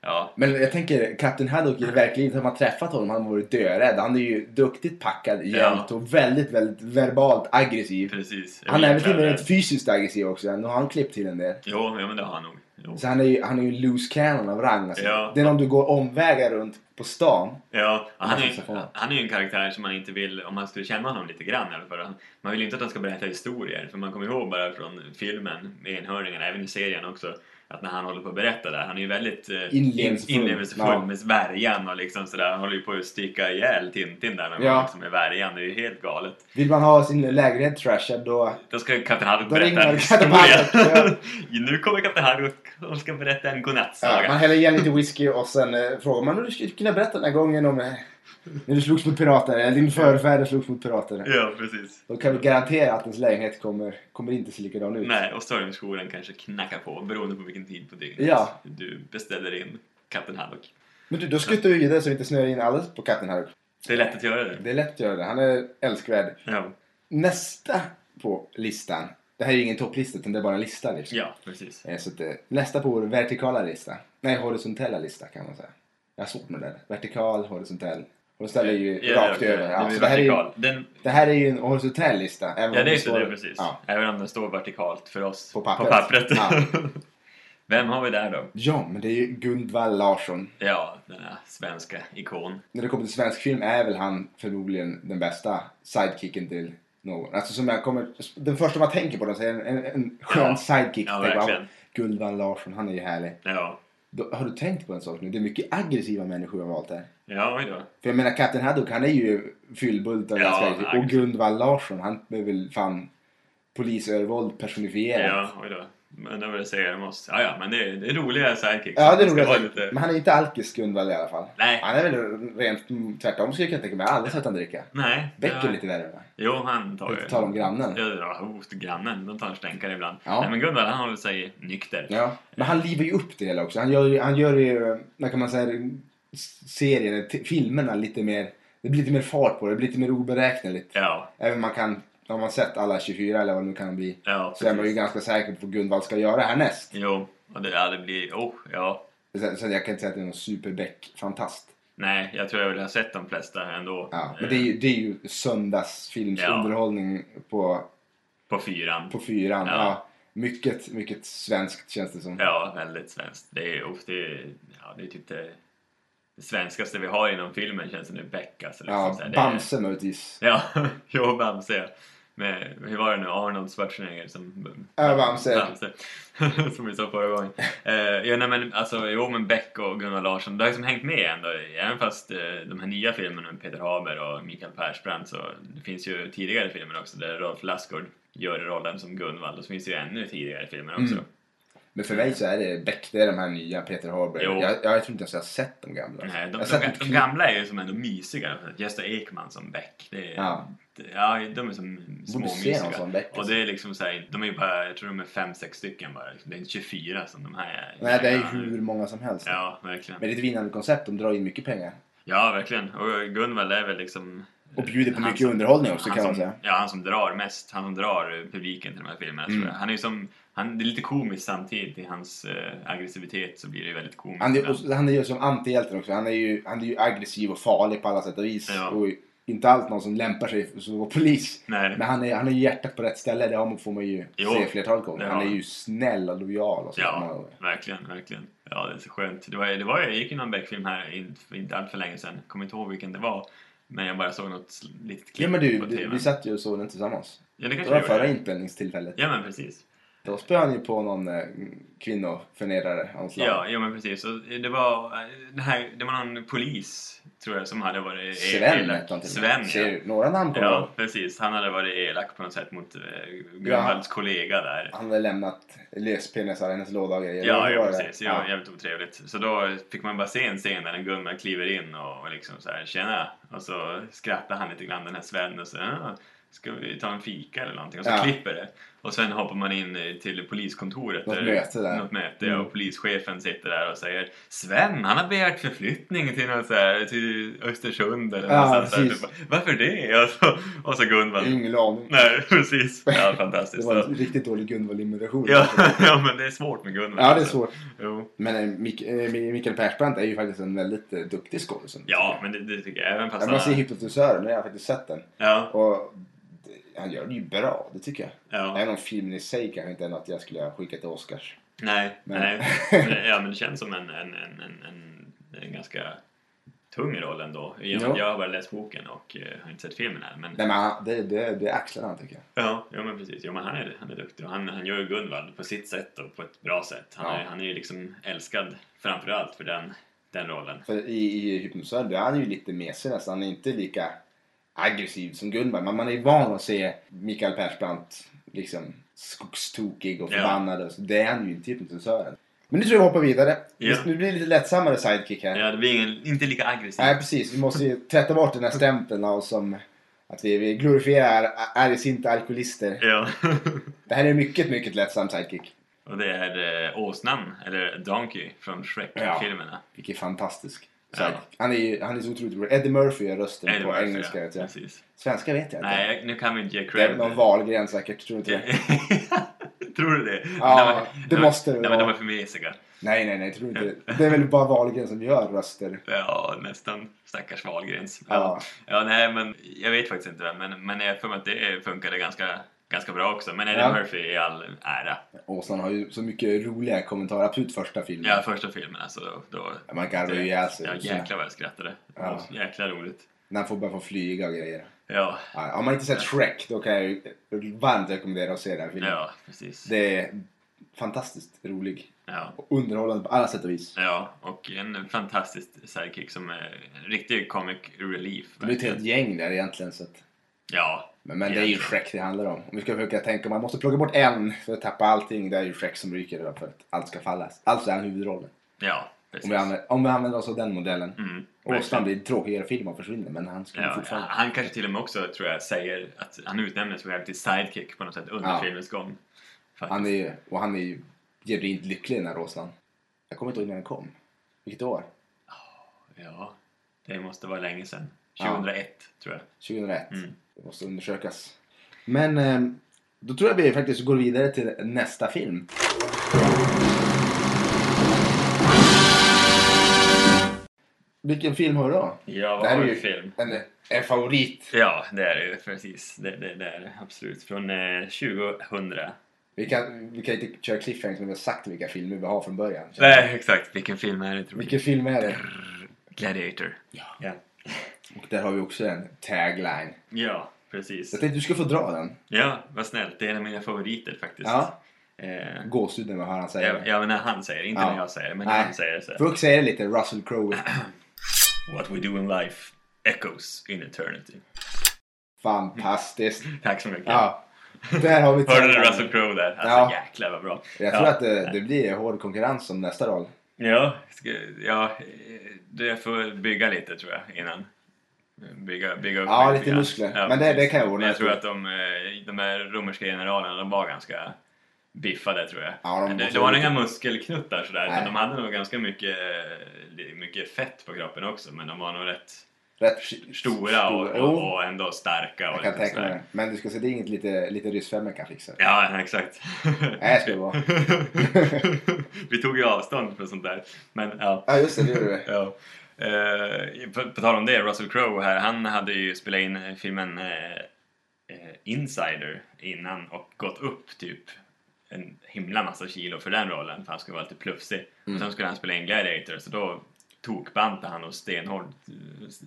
B: Ja,
A: Men jag tänker, Kapten Haddock i verkligen har man träffat honom, han har varit dörädd. Han är ju duktigt packad jämt och väldigt, väldigt verbalt aggressiv.
B: precis.
A: Han är väl till och med
B: Jäklar,
A: rätt fysiskt aggressiv också. Nu har han klippt till en del.
B: Jo, ja, men det har han nog. Jo.
A: Så han är ju, han är ju en loose cannon av rang. Alltså.
B: Ja.
A: Det är om du går omvägar runt på stan.
B: Ja, han är,
A: så
B: ju,
A: fan.
B: han är ju en karaktär som man inte vill, om man skulle känna honom lite grann i alla fall. Man vill ju inte att han ska berätta historier, för man kommer ihåg bara från filmen med enhörningarna, även i serien också, att när han håller på att berätta där, han är ju väldigt eh,
A: Inlevelsefull.
B: in- inlevelsefull
A: Ja.
B: med värjan och liksom sådär. Han håller ju på att sticka ihjäl Tintin där någon
A: Ja.
B: gång liksom med värjan, det är ju helt galet.
A: Vill man ha sin lägenhet trashad då...
B: Då ska Kapten Haddock
A: Då
B: berätta
A: ringer
B: en
A: Kapten
B: historia. <laughs> nu kommer Kapten Haddock och ska berätta en godnattsaga.
A: Ja, man häller igen lite whisky och sen eh, frågar man om du skulle kunna berätta den här gången om eh, när du slogs mot pirater. Eller din förfäder slogs mot pirater.
B: Ja, precis.
A: Då kan vi garantera att ens lägenhet kommer, kommer inte se likadan ut.
B: Nej, och stormskolan kanske knackar på beroende på vilken tid på dygnet
A: Ja.
B: du beställer in Kapten Haddock.
A: Men du, då skuttar vi vidare så vi inte snör in alldeles på katten här.
B: Det är lätt att göra det.
A: Det är lätt att göra det. Han är älskvärd.
B: Ja,
A: Nästa på listan. Det här är ju ingen topplista utan det är bara en lista. Liksom.
B: ja precis.
A: Eh, Så att, eh, nästa på vår vertikala lista. Nej, horisontella lista kan man säga. Jag har svårt med det där. Vertikal, horisontell. Horisontell är ju rakt
B: ja,
A: över. Ja,
B: det
A: så
B: blir
A: det, här är ju,
B: vertikal. Den,
A: det här är ju en horisontell lista. även
B: ja,
A: om
B: det är så det,
A: står-
B: precis.
A: Ja.
B: Även om den står vertikalt för oss
A: På pappret. Ja.
B: Ja. <laughs> Vem har vi där då?
A: ja, men det är ju Gundvall Larsson.
B: Ja, den här svenska ikon.
A: när det kommer till svensk film är väl han förmodligen den bästa sidekicken till någon. Alltså som jag kommer, den första man tänker på då, så är en, en, en skön
B: Ja.
A: sidekick.
B: Ja,
A: Tänk bara,
B: verkligen.
A: Guldvall Larsson, han är ju härlig.
B: Ja,
A: Då, har du tänkt på en sak nu? Det är mycket aggressiva människor jag har valt här.
B: ja oj då.
A: För jag menar Kapten Haddock, han är ju fyllbult och
B: Ja,
A: ganska
B: han
A: aggressiv.
B: är
A: Och Guldvall Larsson, han är väl fan polisövervåld personifierat.
B: Ja, oj då. Men det var det jag säger om oss. Ja, ja, men det är, det är roliga sidekicks.
A: Ja, det är
B: ska
A: roligt.
B: vara lite-
A: Men han är inte alkis Guldvall i alla fall.
B: Nej.
A: Han är väl rent mm, tvärtom skulle jag kunna tänka mig. Jag har aldrig sett han dricka.
B: Nej. det
A: Beck är
B: var-
A: lite värre va?
B: Jo, han tar
A: Inte
B: ju...
A: tal om grannen.
B: Ja, ja, hos grannen. De tar en stänkare ibland.
A: Ja.
B: Nej, men Gunvald han håller sig nykter.
A: Ja, men han livar ju upp det hela också. Han gör ju, han gör ju vad kan man säga, serierna, t- filmerna lite mer, det blir lite mer fart på det, det blir lite mer oberäkneligt.
B: Ja,
A: Även om man kan, om man sett alla 24 eller vad det nu kan bli,
B: ja
A: så är man ju ganska säker på vad Gunvald ska göra härnäst.
B: Jo, och det, ja, det blir... Oh, ja.
A: Så, så jag kan inte säga att det är någon superbäck-fantast.
B: Nej, jag tror jag vill ha sett de flesta ändå. eh,
A: Ja, men det är ju, det är ju söndagsfilmsunderhållning på,
B: På fyran.
A: på fyran. Ja.
B: Ja.
A: mycket, mycket svenskt känns det som.
B: Ja, väldigt svenskt. Det är ju ofta... Ja, det är typ det, det svenskaste vi har inom filmen känns det nu. Beck, alltså. Liksom,
A: Ja,
B: så här, det är-
A: Bamse möjligtvis.
B: Ja, <laughs> jo, Bamse. ja. Med, hur var det nu? Arnold Schwarzenegger som...
A: Ja, Bamse.
B: <laughs> som vi sa förra gången. Eh, ja, nej, men, alltså, jo, men Beck och Gunnar Larsson, det har liksom hängt med ändå. Även fast eh, de här nya filmerna med Peter Haber och Mikael Persbrandt så det finns ju tidigare filmer också där Rolf Lassgård gör rollen som Gunvald och så finns det ju ännu tidigare filmer också.
A: Mm. Men för mig så är det Beck, det är de här nya Peter Haber.
B: Jo.
A: Jag, jag, jag tror inte ens jag har sett de gamla.
B: Nej, de,
A: jag har sett typ-
B: de,
A: ett
B: de
A: klipp.
B: gamla är ju som ändå mysigare. Gösta Ekman som Beck. Det är,
A: Ja.
B: det- ja, de är som
A: Borde se någon
B: småmysiga.
A: sån Beck.
B: Och det är liksom såhär, de är ju bara, jag tror de är fem, sex stycken bara. liksom. Det är inte 24 som de här är.
A: Nej, det är ju hur många som helst.
B: Ja, verkligen.
A: Men det är ett vinnande koncept, de drar in mycket pengar.
B: Ja, verkligen. Och Gunvald är väl liksom...
A: Och bjuder på
B: han
A: mycket
B: som-
A: underhållning också kan
B: han
A: man
B: som,
A: säga.
B: Ja, han som drar mest. Han som drar publiken till de här filmerna
A: Mm.
B: tror jag. Han är ju som, han, det är lite komiskt samtidigt i hans eh, aggressivitet så blir det ju väldigt komiskt.
A: Han är,
B: ibland.
A: och han är ju som antihjälten också. Han är, ju, han är ju aggressiv och farlig på alla sätt och vis.
B: Ja.
A: Och inte alls någon som lämpar sig för att vara polis.
B: Nej.
A: Men han är, han är ju hjärtat på rätt ställe, det har man- får man ju
B: Jo,
A: se flertalet gånger.
B: det har
A: Han är
B: han.
A: ju snäll och lojal och så. många
B: Ja,
A: gånger.
B: verkligen, verkligen. Ja, det är så skönt. Det var, det var, jag gick ju någon Beck-film här in- för inte allt för länge sedan. Kommer inte ihåg vilken det var. Men jag bara såg något litet klipp
A: ja men du,
B: på
A: du,
B: TV.
A: vi satt ju och såg den tillsammans.
B: ja, det
A: Det
B: kanske
A: var
B: det var.
A: förra inspelningstillfället.
B: Ja, men precis.
A: Då spöade han ju på någon eh, kvinnoförnedrare av något slag.
B: Ja, ja men precis. Och det, var, eh, det, här, det var någon polis, tror jag, som hade varit e-
A: Sven hette han till och med.
B: Sven,
A: Ser
B: ja.
A: du? Några namn kommer jag ihåg.
B: ja. precis. Han hade varit elak på något sätt mot eh, Gunvalds kollega där.
A: Han hade lämnat löspenisar i hennes låda och grejer.
B: Ja,
A: Vad
B: ja
A: var det?
B: precis. Ja, jävligt otrevligt. Så då fick man bara se en scen där en gumma kliver in och och liksom så här tjena. Och så skrattar han lite grann den här Sven och så "Ah, ska vi ta en fika eller någonting. Och så
A: Ja.
B: klipper det. Och sen hoppar man in eh, till poliskontoret.
A: Något möte där.
B: Något möte
A: Mm.
B: och polischefen sitter där och säger Sven han har begärt förflyttning till, något så här, till Östersund eller
A: Ja,
B: någonstans där."
A: precis.
B: Du bara, Varför det? Och så, och så Gunvald.
A: Ingen aning.
B: Nej
A: <laughs>
B: precis. Ja
A: Det
B: fantastiskt.
A: var en riktigt dålig Gunvald-imitation.
B: Ja, <laughs> ja men det är svårt med Gunvald.
A: ja, det är
B: alltså.
A: svårt.
B: Jo.
A: Men eh, Mik eh, Mikael Persbrandt är ju faktiskt en väldigt eh, duktig skådis.
B: Ja, men det, det tycker jag. Även fast
A: Jag måste se
B: han...
A: Hypnotisören, nu har jag faktiskt sett den.
B: Ja,
A: Och det, han gör det ju bra, det tycker jag.
B: ja.
A: Även om filmen i sig kanske inte är något jag skulle skicka till Oscars.
B: Nej,
A: Men-
B: nej.
A: <laughs>
B: Men, ja, men det känns som en, en, en, en, en, en ganska tung roll ändå. Jag,
A: Ja.
B: jag har bara läst boken och eh, har inte sett filmen än. Men,
A: Nej men han- det, det, det är axlarna tycker jag.
B: ja, ja, men precis. Jo, men han är, han är duktig och han, han gör ju Gunvald på sitt sätt och på ett bra sätt. Han,
A: Ja.
B: är, han är ju liksom älskad framför allt för den, den rollen.
A: För i, i Hypnotisören då är han ju lite mesig nästan. Han är inte lika aggressiv som Gunvald. Men man är ju van att se Mikael Persbrandt liksom skogstokig och
B: Ja.
A: förbannad. och Så det är han ju inte i Hypnotisören. Men nu tror jag vi hoppar vidare.
B: Ja.
A: Nu blir det lite lättsammare sidekick här.
B: Ja, det blir ingen, inte lika aggressiv.
A: Nej precis, vi måste ju tvätta bort den här stämpeln av som att vi, vi glorifierar argsinta alkoholister.
B: Ja. <laughs>
A: Det här är mycket, mycket lättsam sidekick.
B: och det är eh, åsnan, eller Donkey, från Shrek-filmerna.
A: Vilken fantastisk
B: Ja.
A: sidekick. Han, är ju, han är så otroligt rolig. Eddie Murphy gör rösten
B: Eddie
A: på
B: Murphy,
A: engelska. Vet
B: ja.
A: jag.
B: Precis.
A: Svenska vet jag inte.
B: Nej, jag- nu kan vi inte ge
A: Det
B: cred.
A: är någon valgren säkert, tror du inte det?
B: <laughs> Tror du det?
A: Ja, det
B: de,
A: måste det
B: det Nej, men
A: vara.
B: de är för mesiga.
A: Nej, nej, nej, tror inte det. Det är väl bara valgren som gör röster.
B: Ja, nästan. Stackars Wahlgrens.
A: Ja.
B: Ja. ja, nej, men jag vet faktiskt inte vem, men, men jag har för mig att det funkade ganska, ganska bra också. Men Eddie
A: Ja.
B: Murphy i all ära.
A: Åsnan har ju så mycket roliga kommentarer. Absolut första filmen.
B: Ja, första filmen alltså. Då, då,
A: Man garvar ju ihjäl sig.
B: Ja, jäklar vad jag skrattade. Det var
A: Ja.
B: så Jäkla roligt.
A: När han får börja få flyga och grejer.
B: Ja,
A: Ja, om man inte sett Shrek, då kan jag ju varmt rekommendera att se den här filmen.
B: ja precis.
A: Det är fantastiskt rolig.
B: Ja.
A: Och underhållande på alla sätt och vis.
B: ja, och en fantastisk sidekick som är en riktig comic relief.
A: Det är ju ett
B: verkligen.
A: helt gäng där egentligen. Så att...
B: Ja,
A: Men, men det är ju Shrek det handlar om. Om vi ska försöka tänka, man måste plocka bort en för att tappa allting. Det är ju Shrek som ryker då för att allt ska fallas. Alltså är han huvudrollen.
B: ja, precis.
A: Om vi, använder, om vi använder oss av den modellen.
B: Mm,
A: Åsnan blir tråkigare film och försvinner, men han skulle
B: Ja,
A: fortfarande...
B: han kanske till och med också tror jag säger att han utnämner sig själv till sidekick på något sätt under
A: Ja.
B: filmens gång. Faktiskt.
A: Han är ju, och han är ju genuint lycklig den här Åsnan. Jag kommer inte ihåg när den kom. Vilket år?
B: Ja, det måste vara länge sedan.
A: Ja.
B: 2001 tror jag.
A: 2001.
B: Mm.
A: Det måste undersökas. Men eh, då tror jag vi faktiskt går vidare till nästa film. Vilken film har du då?
B: Ja,
A: Det
B: vad
A: här
B: har
A: är
B: vi
A: ju
B: film?
A: en, en favorit.
B: Ja, det är det ju precis. Det, det, det är det, absolut. Från eh, 2000.
A: Vi kan, vi kan inte köra cliffhanger som vi har sagt vilka filmer vi har från början.
B: Nej, Eh, exakt. Vilken film är det tror
A: Vilken
B: du?
A: film är det?
B: Gladiator.
A: Ja.
B: Ja,
A: Och där har vi också en tagline.
B: ja precis.
A: Jag tänkte du ska få dra den.
B: Ja, vad snällt. Det är en av mina favoriter faktiskt.
A: Ja.
B: Eh,
A: Gåshud när man hör han säga
B: ja,
A: det.
B: ja, men när han säger det. Inte
A: Ja.
B: när jag säger det, men
A: Nej.
B: när han säger det så.
A: Brooke säger det lite Russell Crowe.
B: <clears throat> What we do in life echoes in eternity.
A: Fantastiskt.
B: Tack så mycket.
A: Ja. Där har vi
B: Hörde du
A: taglinen.
B: Russell Crowe där? Alltså
A: Ja.
B: jäklar vad bra.
A: Jag
B: ja.
A: tror att det, det blir hård konkurrens om nästa roll.
B: Ja, ska, ja, eh, det- jag får bygga lite tror jag innan. Bygga, bygga upp
A: Ja,
B: mig
A: lite
B: grann.
A: muskler. Men det- det kan jag ordna.
B: Men jag tror att de, eh, de här romerska generalerna, de var ganska biffade tror jag.
A: Ja, de
B: Men det,
A: måste
B: det var
A: vara
B: inga muskelknuttar sådär,
A: Nej.
B: utan de hade nog ganska mycket, eh, mycket fett på kroppen också. Men de var nog rätt
A: Rätt sk-
B: stora och, och,
A: Jo,
B: och ändå starka. Och
A: jag kan
B: lite
A: tänka mig
B: sådär.
A: det. Men du ska se, det är inget lite, lite ryssfemmor kan fixa. det.
B: Ja, exakt.
A: <laughs> Nej, det ska det
B: <laughs>
A: vara.
B: Vi tog ju avstånd från sånt där. Men ja.
A: Ja, just det, det gjorde du.
B: ja. Eh, på, på tal om det, Russell Crowe här, han hade ju spelat in filmen eh, eh, Insider innan och gått upp typ en himla massa kilo för den rollen för han skulle vara lite plufsig.
A: Mm.
B: Och sen skulle han spela in Gladiator så då tokbantade han och stenhårt,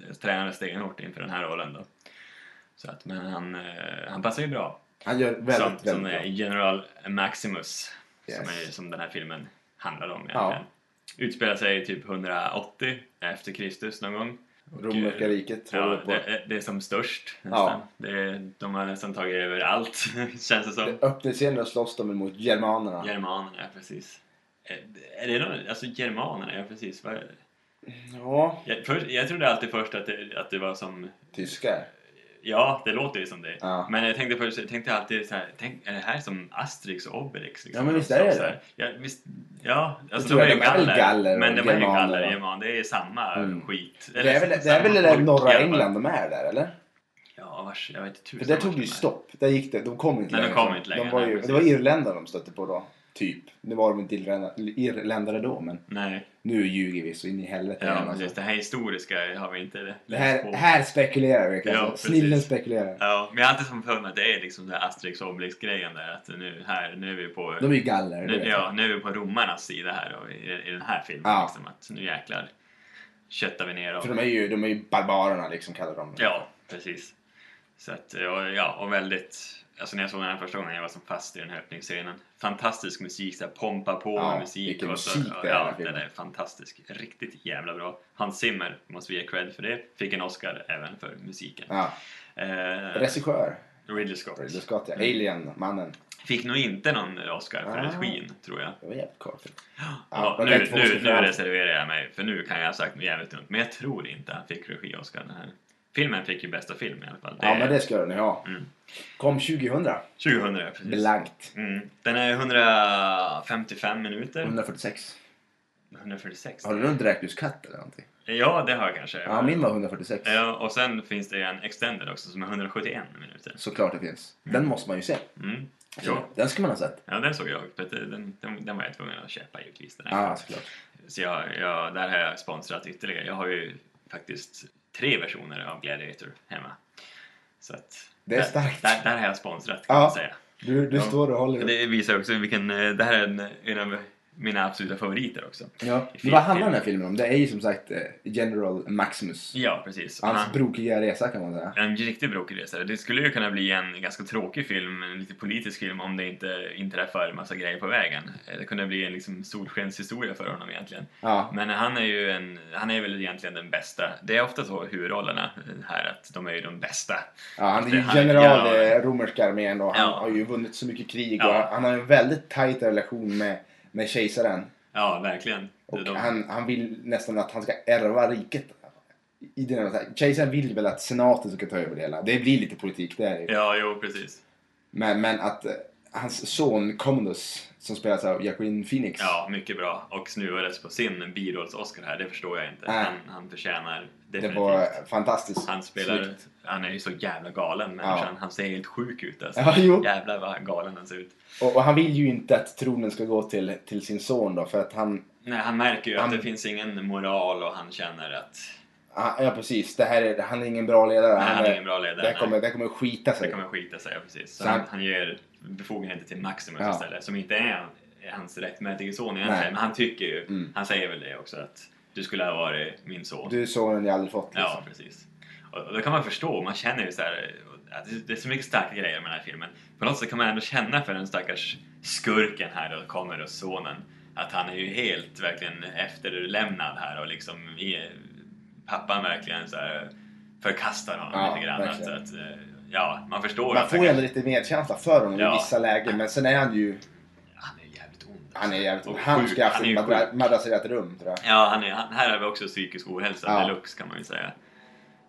B: eh, tränade stenhårt inför den här rollen då. Så att, men han, eh, han passar ju bra.
A: Han gör väldigt,
B: som,
A: väldigt
B: som
A: bra.
B: är General Maximus som,
A: Yes.
B: är, som den här filmen handlar om
A: Ja.
B: egentligen. Utspelar sig typ 180 efter Kristus någon gång. Och,
A: Romerska
B: eh,
A: riket håller
B: Ja,
A: på. Det,
B: det, det är som störst nästan. Det, de har nästan tagit över allt <laughs> känns det som.
A: öppningsscenen slåss de mot germanerna.
B: Germanerna, ja precis. Eh, Är det någon, alltså germanerna, ja precis. Vad är det?
A: Ja,
B: Jag, först, jag trodde alltid först att det, att det var som
A: tyskar.
B: Ja, det låter ju som det.
A: Ja.
B: Men jag tänkte, först, jag tänkte alltid så här, tänk, är det här som Asterix och Obelix? Liksom?
A: Ja, men visst är det
B: Så här, Ja, visst, ja alltså
A: tror
B: de är
A: jag
B: ju
A: de är väl
B: galler.
A: galler och
B: men de är ju
A: germaner,
B: galler,
A: va?
B: german. Det är samma
A: Mm.
B: skit.
A: Det är väl det, är väl det
B: samma
A: där
B: folk,
A: norra
B: i alla fall.
A: England de är där, eller?
B: Ja, vars, jag vet inte
A: För
B: tusan
A: där
B: vart
A: tog det
B: de
A: ju
B: är.
A: stopp. Där gick det. De kom inte
B: Nej, de
A: längre.
B: kom inte längre,
A: De var
B: nej,
A: ju, det
B: precis.
A: var irländare de stötte på då. Typ. Nu var de inte irländare, irländare då, men
B: Nej,
A: nu ljuger vi så in i helvete.
B: ja,
A: igen, alltså.
B: precis. Det här historiska har vi inte läst
A: det här,
B: på.
A: här spekulerar vi.
B: Ja,
A: Ja,
B: precis.
A: Snillen spekulerar.
B: Ja, men jag har alltid som för mig att det är liksom den här Asterix och Obelix-grejen där. Att nu, här, nu är vi på...
A: De är ju galler. det
B: Nu,
A: vet jag.
B: ja, nu är vi på romarnas sida här och i, i den här filmen.
A: Ja.
B: Liksom, att nu jäklar köttar vi ner dem.
A: För de är ju, de är ju barbarerna liksom, kallar de dem.
B: Ja, precis. Så att, och, ja, och väldigt... Alltså när jag såg den här första gången, jag var som fast i den här öppningsscenen. Fantastisk musik, så här, pompa på
A: Ja,
B: med musik.
A: vilken
B: och så,
A: musik det är i den här
B: Ja,
A: filmen.
B: den är fantastisk. Riktigt jävla bra. Hans Zimmer, måste vi ge cred för det, fick en Oscar även för musiken.
A: ja.
B: Eh,
A: Regissör.
B: Ridley Scott.
A: Ridley Scott,
B: Mm.
A: ja. Alien, mannen.
B: Fick nog inte någon Oscar för
A: Ah.
B: regin, tror jag.
A: Det var jävligt konstigt. det
B: Ja,
A: var
B: nu,
A: rätt för oss
B: nu,
A: att
B: nu
A: fram.
B: reserverar jag mig, för nu kan jag ha sagt något jävligt dumt. Men jag tror inte han fick regi-Oscar den här. Filmen fick ju bästa film i alla fall.
A: Ja, men det ska den ha.
B: Mm.
A: Kom 2000.
B: 2000, ja, precis.
A: Blankt.
B: Mm. Den är 155 minuter.
A: 146.
B: 146.
A: Har du någon direktljuscut eller någonting?
B: Ja, det har jag kanske.
A: Ja, min var 146.
B: Ja, och sen finns det en extended också som är 171 minuter.
A: Såklart det finns. Den måste man ju se.
B: Mm.
A: Så,
B: Ja.
A: den ska man ha sett.
B: ja, den såg jag. för att Den, den, den var jag tvungen att köpa givetvis. Den här.
A: Ja, Ah, såklart.
B: Så jag, jag, där har jag sponsrat ytterligare. Jag har ju faktiskt tre versioner av Gladiator hemma. Så att,
A: Det är starkt.
B: Där, där, där har jag sponsrat kan
A: Ja.
B: man säga.
A: Du, du
B: Ja.
A: står och håller.
B: Det visar också vilken... eh, Det här är en, en av mina absoluta favoriter också.
A: Ja.
B: Fin
A: Vad handlar
B: film.
A: den här filmen om? Det är ju som sagt eh, General Maximus.
B: Ja, precis. Och
A: Hans
B: han-
A: brokiga resa kan man säga.
B: En riktigt brokig resa. Det skulle ju kunna bli en ganska tråkig film, en lite politisk film, om det inte inträffar massa grejer på vägen. Eh, Det kunde bli en liksom solskenshistoria för honom egentligen.
A: Ja.
B: Men han är ju en, han är väl egentligen den bästa. Det är ofta så huvudrollerna eh, här, att de är ju de bästa.
A: ja han är ju
B: Det här-
A: general
B: ja.
A: i romerska armén och han
B: Ja.
A: har ju vunnit så mycket krig
B: Ja.
A: och han har en väldigt tajt relation med, med kejsaren.
B: Ja, verkligen.
A: Och
B: de,
A: han, han vill nästan att han ska ärva riket. I den här, kejsaren vill väl att senaten ska ta över det hela. Det blir lite politik, det är det ju.
B: Ja, jo, precis.
A: Men, men att eh, hans son Commodus, som spelas av Joaquin Phoenix.
B: Ja, mycket bra. Och snuvades på sin birolls-Oscar här, det förstår jag inte.
A: Nej.
B: Han, han förtjänar
A: det
B: definitivt.
A: var fantastiskt.
B: Han spelar,
A: snyggt.
B: han är ju så jävla galen människan. Han ser helt sjuk ut alltså.
A: Ja, jo.
B: Jävlar vad galen han ser ut.
A: Och, och han vill ju inte att tronen ska gå till, till sin son då, för att han...
B: Nej, han märker ju
A: Han-
B: att det finns ingen moral och han känner att
A: han ah, ja, precis. Det här är, han är ingen bra ledare.
B: nej, han
A: är-
B: är ingen bra
A: det
B: ledare.
A: här kommer,
B: nej.
A: det här kommer att skita sig.
B: det kommer skita sig, ja, precis. Så
A: Så
B: han,
A: han-
B: han ger befogenheter till Maximus
A: Ja.
B: istället, som inte är hans rättmätige son egentligen.
A: Nej.
B: Men han tycker ju,
A: Mm.
B: han säger väl det också, att du skulle ha varit min son.
A: Du är sonen jag aldrig fått
B: Ja,
A: liksom.
B: precis. Och och då kan man förstå, man känner ju så här, att det- det är så mycket starka grejer med den här filmen. På något sätt kan man ändå känna för den stackars skurken här då, kommer och sonen, att han är ju helt verkligen efterlämnad här och liksom i, pappan verkligen så här förkastar honom
A: Ja,
B: lite grann. Att,
A: verkligen.
B: att, eh, ja, man förstår
A: Man
B: att
A: får
B: han
A: ju ändå
B: kanske-
A: lite medkänsla för honom
B: Ja.
A: i vissa lägen, men sen är han ju...
B: han är jävligt ond. alltså.
A: Han är jävligt...
B: Och
A: Han
B: sjuk.
A: ska haft
B: Han är
A: ett
B: ju
A: madra-
B: sjuk.
A: madrasserat rum, tror jag.
B: Ja, han är, han, här har vi också psykisk ohälsa
A: Ja.
B: deluxe kan man ju säga.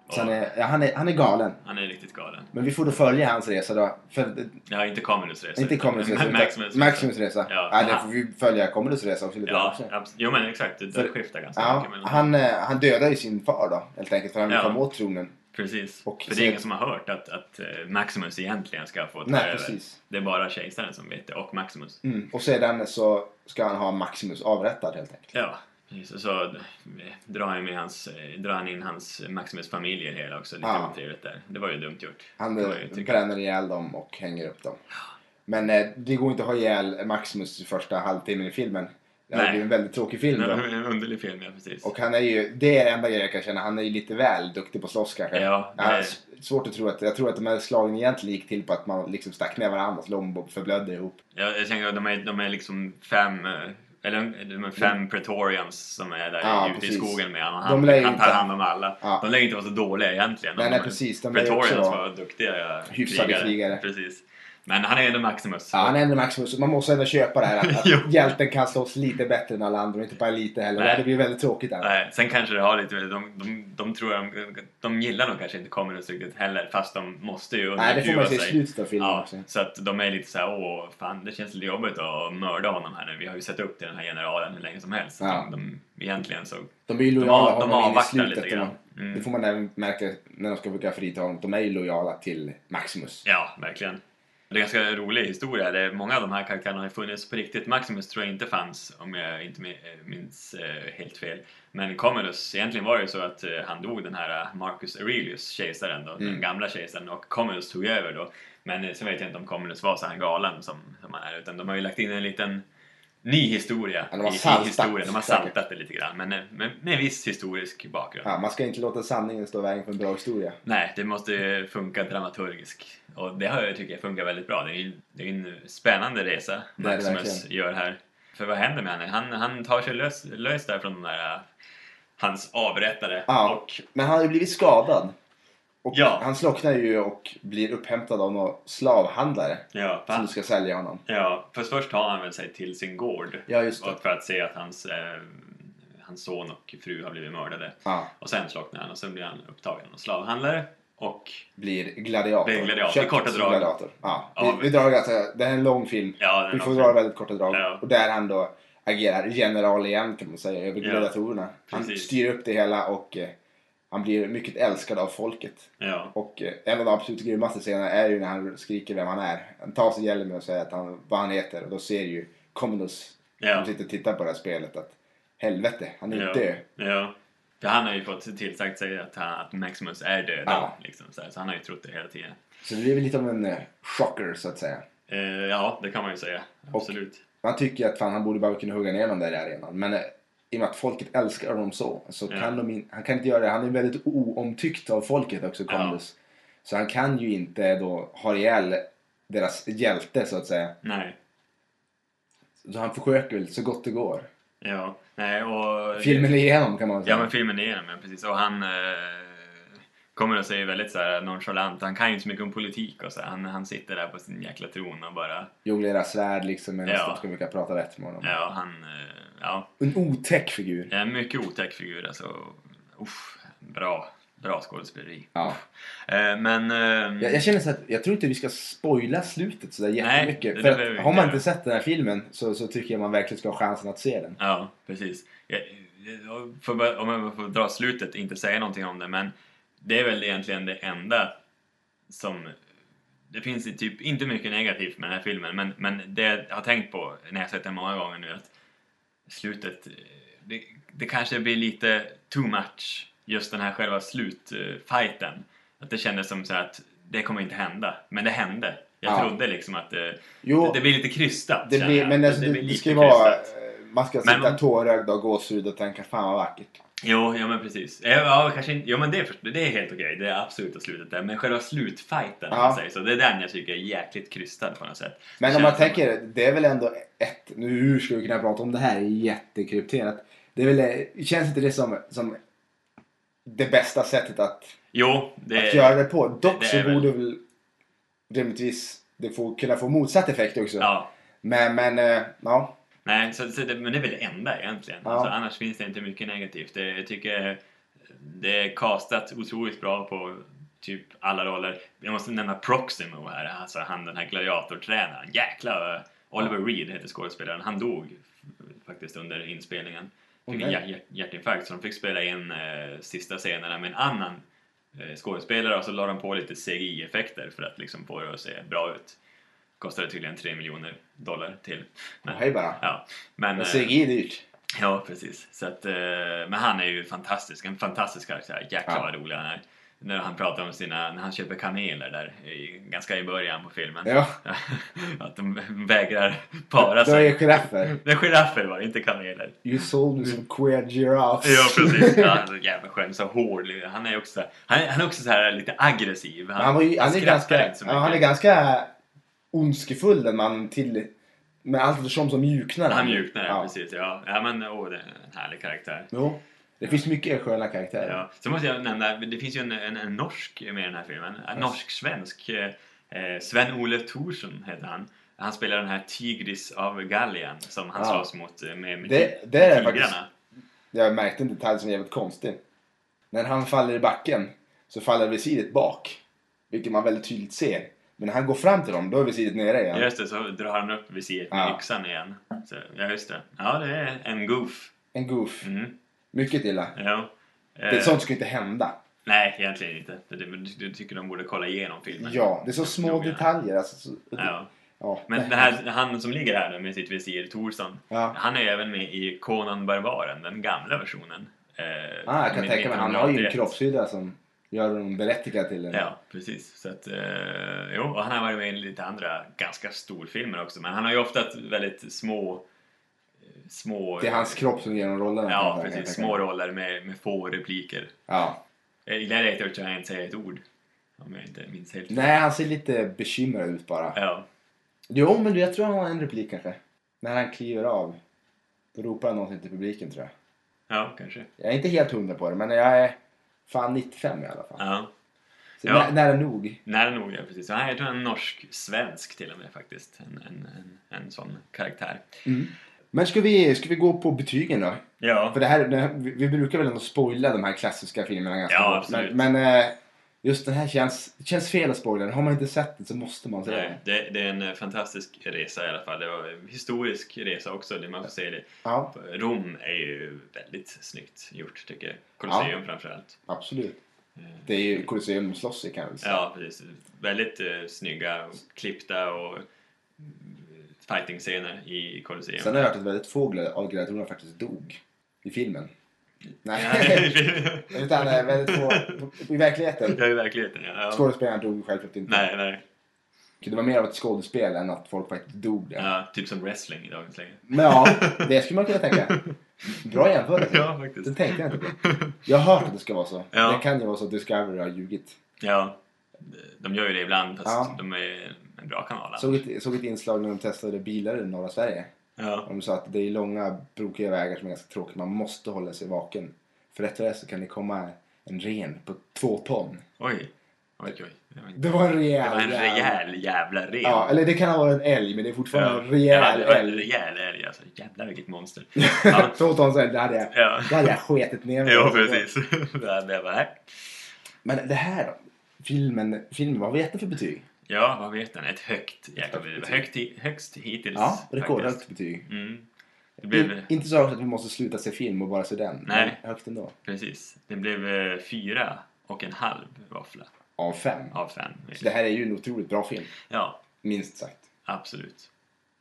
B: Och
A: Så han, är, ja, han, är, han är galen.
B: han är riktigt galen.
A: Men vi får då följa hans resa då. För,
B: Ja, inte Commodus resa.
A: inte Commodus resa.
B: men
A: utan
B: Alltså, <laughs> Maximus resa.
A: Maximus resa.
B: Ja.
A: Ja, det får vi följa Commodus resa också lite
B: Ja,
A: också.
B: abs- jo men exakt. Det, det
A: För-
B: skiftar ganska
A: Ja,
B: mycket mellan
A: han, eh, han dödar ju sin far då, helt enkelt, för han vill
B: Ja.
A: komma åt tronen.
B: Precis.
A: och
B: För det
A: ser-
B: är ingen som har hört att, att eh, Maximus egentligen ska få ta
A: Nej,
B: över.
A: precis.
B: Det är bara kejsaren som vet det, och Maximus.
A: Mm. Och sedan så ska han ha Maximus avrättad, helt enkelt.
B: Ja, Så, så eh, drar, han med hans, eh, drar han in hans Maximus familj i det hela också. Lite
A: Ja.
B: otrevligt där. Det var ju dumt gjort.
A: Han
B: Det
A: eh,
B: var ju, tycker jag.
A: bränner ihjäl dem och hänger upp dem. Men eh, det går inte att ha ihjäl Maximus i första halvtimmen i filmen. Det hade
B: Nej.
A: blivit en väldigt tråkig film
B: Det
A: då.
B: var en underlig film, ja precis.
A: Och han är ju, det är det enda grejen jag kan känna, han är ju lite väl duktig på att slåss kanske.
B: Ja,
A: Ja,
B: det är-
A: s- svårt att tro att, jag tror att de här slagen egentligen gick till på att man liksom stack ner varandra, slog och förblödde ihop.
B: Jag, jag tänker att de är, de är liksom fem, eh, eller de är fem pretorians som är där
A: Mm. Ja,
B: ute
A: precis.
B: i skogen med honom.
A: De
B: Han,
A: lär ju
B: han tar
A: inte-
B: hand om alla.
A: Ja.
B: De lär ju inte vara så dåliga egentligen.
A: Nej,
B: De
A: nej,
B: är-
A: precis. De lär ju
B: pretorians
A: också vara
B: var duktiga
A: hyfsade krigare.
B: Precis. Men han är ändå Maximus.
A: Ja, han är ändå Maximus, man måste ändå köpa det här att,
B: <laughs> Jo.
A: att hjälten kan slåss lite bättre än alla andra och inte bara lite heller.
B: Nej.
A: Det blir väldigt tråkigt där.
B: Nej, Eh, sen kanske det har lite... De, de, de tror de, de gillar nog kanske inte Communus riktigt heller fast de måste ju
A: Nej, det får man se i
B: sig.
A: slutet av filmen
B: Ja,
A: också.
B: så att de är lite så här, åh fan det känns lite jobbigt att mörda honom här nu. Vi har ju sett upp till den här generalen hur länge som helst. Så
A: Ja.
B: De, de, egentligen så
A: De är ju
B: De,
A: lojala
B: av, de
A: honom in i
B: avvaktar
A: slutet.
B: lite
A: och
B: grann.
A: de-
B: Mm.
A: Det får man även märka när de ska försöka frita honom. De är ju lojala till Maximus.
B: Ja, verkligen. Det är en ganska rolig historia. Det är, många av de här karaktärerna har ju funnits på riktigt. Maximus tror jag inte fanns, om jag inte mi- minns eh, helt fel. Men Commodus, egentligen var det ju så att eh, han dog den här eh, Marcus Aurelius, kejsaren då,
A: Mm.
B: den gamla kejsaren, och Commodus tog över då. Men eh, sen vet jag inte om Commodus var så här galen som, som han är, utan de har ju lagt in en liten ny historia
A: Ja, de har
B: i,
A: saltat,
B: i historien. De har
A: säkert.
B: saltat det lite grann, men eh, med, med viss historisk bakgrund.
A: Ja, man ska inte låta sanningen stå i vägen för en bra historia.
B: Nej, det måste ju funka dramaturgiskt. Och det har jag tycker jag funkar väldigt bra. Det är ju det är ju en spännande resa
A: Det är det
B: Maximus gör här. För vad händer med honom? Han, han tar sig lös, lös där från de där, äh, hans avrättare.
A: Ja.
B: Och
A: Men han har ju blivit skadad. Och
B: Ja.
A: han slocknar ju och blir upphämtad av någon slavhandlare
B: ja,
A: som
B: för,
A: ska sälja honom.
B: ja, fast först tar han väl sig till sin gård.
A: Ja, just det.
B: och för att se att hans, eh, hans son och fru har blivit mördade.
A: Ja,
B: Och sen slocknar han och sen blir han upptagen av en slavhandlare. Och
A: blir gladiator.
B: Blir gladiator.
A: Köpt
B: I korta
A: som
B: drag.
A: Gladiator. Ja,
B: Ja,
A: vi, vi drar alltså, det här är en lång film.
B: ja, den
A: vi får
B: också-
A: dra väldigt korta drag.
B: Ja.
A: Och där han då agerar general igen kan man säga, över
B: Ja.
A: gladiatorerna. Han
B: Precis.
A: styr upp det hela och eh, han blir mycket älskad av folket.
B: ja.
A: Och eh, en av de absolut grymmaste scenerna är ju när han skriker vem han är. Han tar sig hjälmen och säger att han, vad han heter och då ser ju Commodus
B: Ja.
A: som sitter och tittar på det här spelet att helvete, han är
B: Ja.
A: död.
B: Ja. För han har ju fått tillsagt sig att, han, att Maximus är död.
A: Ja.
B: Liksom, så, här, så han har ju trott det hela tiden.
A: Så det blir väl lite av en eh, chocker så att säga.
B: Eh, ja, det kan man ju säga.
A: Och-
B: Absolut.
A: Man tycker ju att fan, han borde bara kunna hugga ner dem där i arenan. Men eh, i och med att folket älskar honom så, så
B: Ja.
A: kan de in, han kan inte göra det. Han är väldigt oomtyckt av folket också,
B: Ja.
A: Commodus. Så han kan ju inte då ha ihjäl deras hjälte så att säga.
B: Nej.
A: Så han försöker väl så gott det går.
B: Ja. Nej, och...
A: Filmen är igenom kan man säga.
B: Ja, men filmen är igenom, ja, precis. Och han... Eh, kommer att säga väldigt så här nonchalant. Han kan ju inte så mycket om politik och så. här. Han, han sitter där på sin jäkla tron och bara...
A: jonglera svärd liksom medan
B: Ja.
A: de ska försöka prata rätt med honom.
B: Ja, han... Eh, ja.
A: En otäck figur.
B: En mycket otäck figur alltså. Uff, bra. Bra skådespeleri.
A: Ja.
B: Eh, men... Eh,
A: Jag, jag känner så att jag tror inte vi ska spoila slutet sådär jättemycket. för
B: det behöver
A: att,
B: vi
A: har man
B: inte.
A: inte sett den här filmen så, så tycker jag man verkligen ska ha chansen att se den.
B: Ja, precis. Jag, jag får bara, om jag får dra slutet, inte säga någonting om det, men det är väl egentligen det enda som... Det finns i typ inte mycket negativt med den här filmen, men, men det jag har tänkt på när jag sett den många gånger nu är att slutet, eh, det, det kanske blir lite too much, just den här själva slutfighten. Att det kändes som så här att det kommer inte hända, men det hände. Jag
A: Ja.
B: trodde liksom att det,
A: Jo,
B: det blir lite krystat.
A: det
B: känner
A: blir,
B: jag.
A: men alltså,
B: Det
A: det,
B: blir
A: det,
B: lite
A: ska ju vara...
B: krystat.
A: eh, Man ska
B: Men
A: sitta
B: man-
A: tårögd och gåshud och tänka fan vad vackert.
B: Jo, ja men precis. Eh, Ja, kanske inte. Jo men det, är först- det är helt okej, det är absoluta slutet där. Men själva slutfighten, om
A: Ja.
B: man säger så, det är den jag tycker är jäkligt krystad på något sätt.
A: Men om
B: Känns
A: man
B: som-
A: tänker, det är väl ändå ett... Nu hur ska vi kunna prata om det här? Det är jättekrypterat. Det är väl, eh, känns inte det som, som det bästa sättet att
B: Jo, det
A: att göra det på. Dock
B: Eh, det
A: så
B: är väl-
A: borde väl rimligtvis det får, kunna få motsatt effekt också.
B: Ja.
A: Men, men, eh, ja.
B: Nej, så, så det, men det är väl det enda egentligen.
A: Ja.
B: Alltså, annars finns det inte mycket negativt. Det, jag tycker det är castat otroligt bra på typ alla roller. Jag måste nämna Proximo här, alltså han den här gladiatortränaren. Jäklar! eh, Oliver Reed heter skådespelaren. Han dog faktiskt under inspelningen.
A: Åh,
B: Fick en
A: nej.
B: hjär- hjär- hjärtinfarkt så de fick spela in eh, sista scenerna med en annan eh, skådespelare och så la de på lite CGI-effekter för att liksom få det att se bra ut. Kostade tydligen 3 miljoner dollar till. Men-
A: Hej bara.
B: Ja, men...
A: Men
B: eh,
A: CGI är dyrt.
B: Ja, precis. Så att, eh, men han är ju fantastisk, en fantastisk karaktär. Jäklar
A: Ja.
B: vad rolig han är. När han pratar om sina, när han köper kaneler där, i, ganska i början på filmen.
A: Ja,
B: <laughs> att de vägrar para
A: då är
B: sig.
A: jag giraffer.
B: Det är giraffer var det, inte kaneler.
A: You sold me some queer giraffes.
B: Ja,
A: <laughs>
B: precis. Ja, han är så jävla skön, så hård. Han är också, han är, han är också så här lite aggressiv.
A: Han, var ju, han, är
B: skrattar
A: ganska,
B: inte så
A: ja, han är
B: mycket.
A: ganska ondskefull den mannen till... Men allt eftersom så mjuknar
B: Han mjuknar, ja.
A: Ja.
B: precis. Ja, ja men åh, det är en härlig karaktär.
A: Jo, det finns mycket sköna karaktärer.
B: Ja. Så måste jag nämna, det finns ju en, en, en norsk med i den här filmen. En norsk-svensk. Eh, Sven-Ole Thorsen heter han. Han spelar den här Tigris av Gallien som han
A: Ja.
B: slåss mot eh, med, med
A: Det-
B: ti-
A: det är
B: tigrarna.
A: faktiskt- Jag märkte en detalj som är jävligt konstig. När han faller i backen så faller visiret bak. Vilket man väldigt tydligt ser. Men när han går fram till dem, då är visiret nere igen.
B: Just det, så drar han upp visiret med
A: Ja.
B: yxan igen. Så, ja, just det. Ja, det är en goof.
A: En goof.
B: Mm.
A: Mycket illa.
B: Ja. Eh,
A: Det, sånt ska inte hända.
B: Nej, egentligen inte. Det, det, du tycker de borde kolla igenom filmen.
A: Ja, det är så små
B: Noga.
A: detaljer. Alltså, så,
B: Ja.
A: ja.
B: Men det här, han som ligger här nu med sitt visir, Thorsson,
A: <laughs> Ja.
B: han är även med i Conan Barbaren, den gamla versionen. Eh,
A: Ah, jag kan
B: med
A: tänka mig, han har ju en
B: 1981.
A: kroppshydda som gör honom berättigad till en...
B: Ja, precis. Så att, eh, jo, och han har varit med i lite andra ganska storfilmer också, men han har ju ofta ett väldigt små... eh, små
A: Det är hans kropp som ger honom rollerna. kan jag
B: Ja,
A: tänka
B: precis.
A: mig.
B: Små roller med, med få repliker.
A: Ja.
B: Eh, I Gladiator tror jag inte säger ett ord, om jag inte minns helt
A: Nej, han ser lite bekymrad ut bara.
B: Ja,
A: Jo, men jag tror han har en replik kanske. När han kliver av. Då ropar han någonting till publiken tror jag.
B: ja, kanske.
A: Jag är inte helt hundra på det, men jag är fan 95 i alla fall.
B: Ja.
A: Så
B: Ja.
A: nä- Nära nog.
B: Nära nog, ja precis. Ja, jag tror en norsk-svensk till och med faktiskt. En, en, en, en sån karaktär.
A: Men ska vi, ska vi gå på betygen då?
B: Ja,
A: För det här, det här, vi vi brukar väl ändå spoila de här klassiska filmerna ganska
B: Ja,
A: hårt.
B: absolut.
A: Men, men eh, just den här känns, det känns fel att spoila den. Har man inte sett den så måste man se den.
B: nej, det, det är en eh, fantastisk resa i alla fall. Det var en historisk resa också, det man får se det.
A: Ja,
B: Rom är ju väldigt snyggt gjort, tycker jag. Colosseum framförallt. Eh,
A: absolut. Det är ju Colosseum de slåss i kan jag väl säga.
B: Ja, precis. Väldigt eh, snygga, och klippta och eh, fighting-scener i Colosseum. <laughs>
A: Sen har jag hört att väldigt få glad- av gladiatorerna faktiskt dog i filmen. <laughs> Nej,
B: Nej.
A: utan eh, väldigt få i verkligheten.
B: Det är ju verkligheten, <laughs> ja. ja.
A: Skådespelarna dog ju självklart inte.
B: Nej, nej.
A: Det var mer av ett skådespel än att folk faktiskt dog där.
B: Ja, typ som wrestling i dagens läge.
A: Men ja, det skulle man kunna tänka.
B: <laughs>
A: Bra jämförelse.
B: Ja, faktiskt.
A: Det tänkte jag inte på. Jag har hört att det ska vara så.
B: Ja.
A: Det kan ju vara så att Discovery har ljugit.
B: Ja, de gör ju det ibland fast
A: Ja.
B: de är en bra kanal.
A: Såg ett, såg ett inslag när de testade bilar i norra Sverige.
B: Ja.
A: De sa att det är långa brokiga vägar som är ganska tråkiga. Man måste hålla sig vaken. För rätt vad det är så kan det komma en ren på två ton.
B: Oj. Oj, oj. Det var en-
A: Det var en
B: det
A: rejäl
B: var en
A: jävla-
B: rejäl jävla ren.
A: Ja, eller det kan ha varit en älg men det är fortfarande en rejäl
B: det var en
A: älg.
B: rejäl älg alltså. Jävlar
A: <laughs>
B: vilket monster. Ja,
A: Två ton älg, det hade jag,
B: ja.
A: det hade jag sketit ner mig.
B: ja precis. <laughs> Det här- det var här.
A: Men det här då? Filmen, filmen vad vet du för betyg?
B: Ja, vad vet den? Ett högt jäkla betyg. Högt, hi- högst hittills.
A: Ja,
B: faktiskt.
A: rekordhögt betyg.
B: Mm. Det
A: In,
B: blev,
A: inte så högt att vi måste sluta se film och bara se den.
B: Nej.
A: Men högt ändå.
B: precis. Det blev eh, fyra och en halv våffla
A: Av fem.
B: av fem.
A: Så det här är ju en otroligt bra film.
B: Ja,
A: Minst sagt.
B: absolut.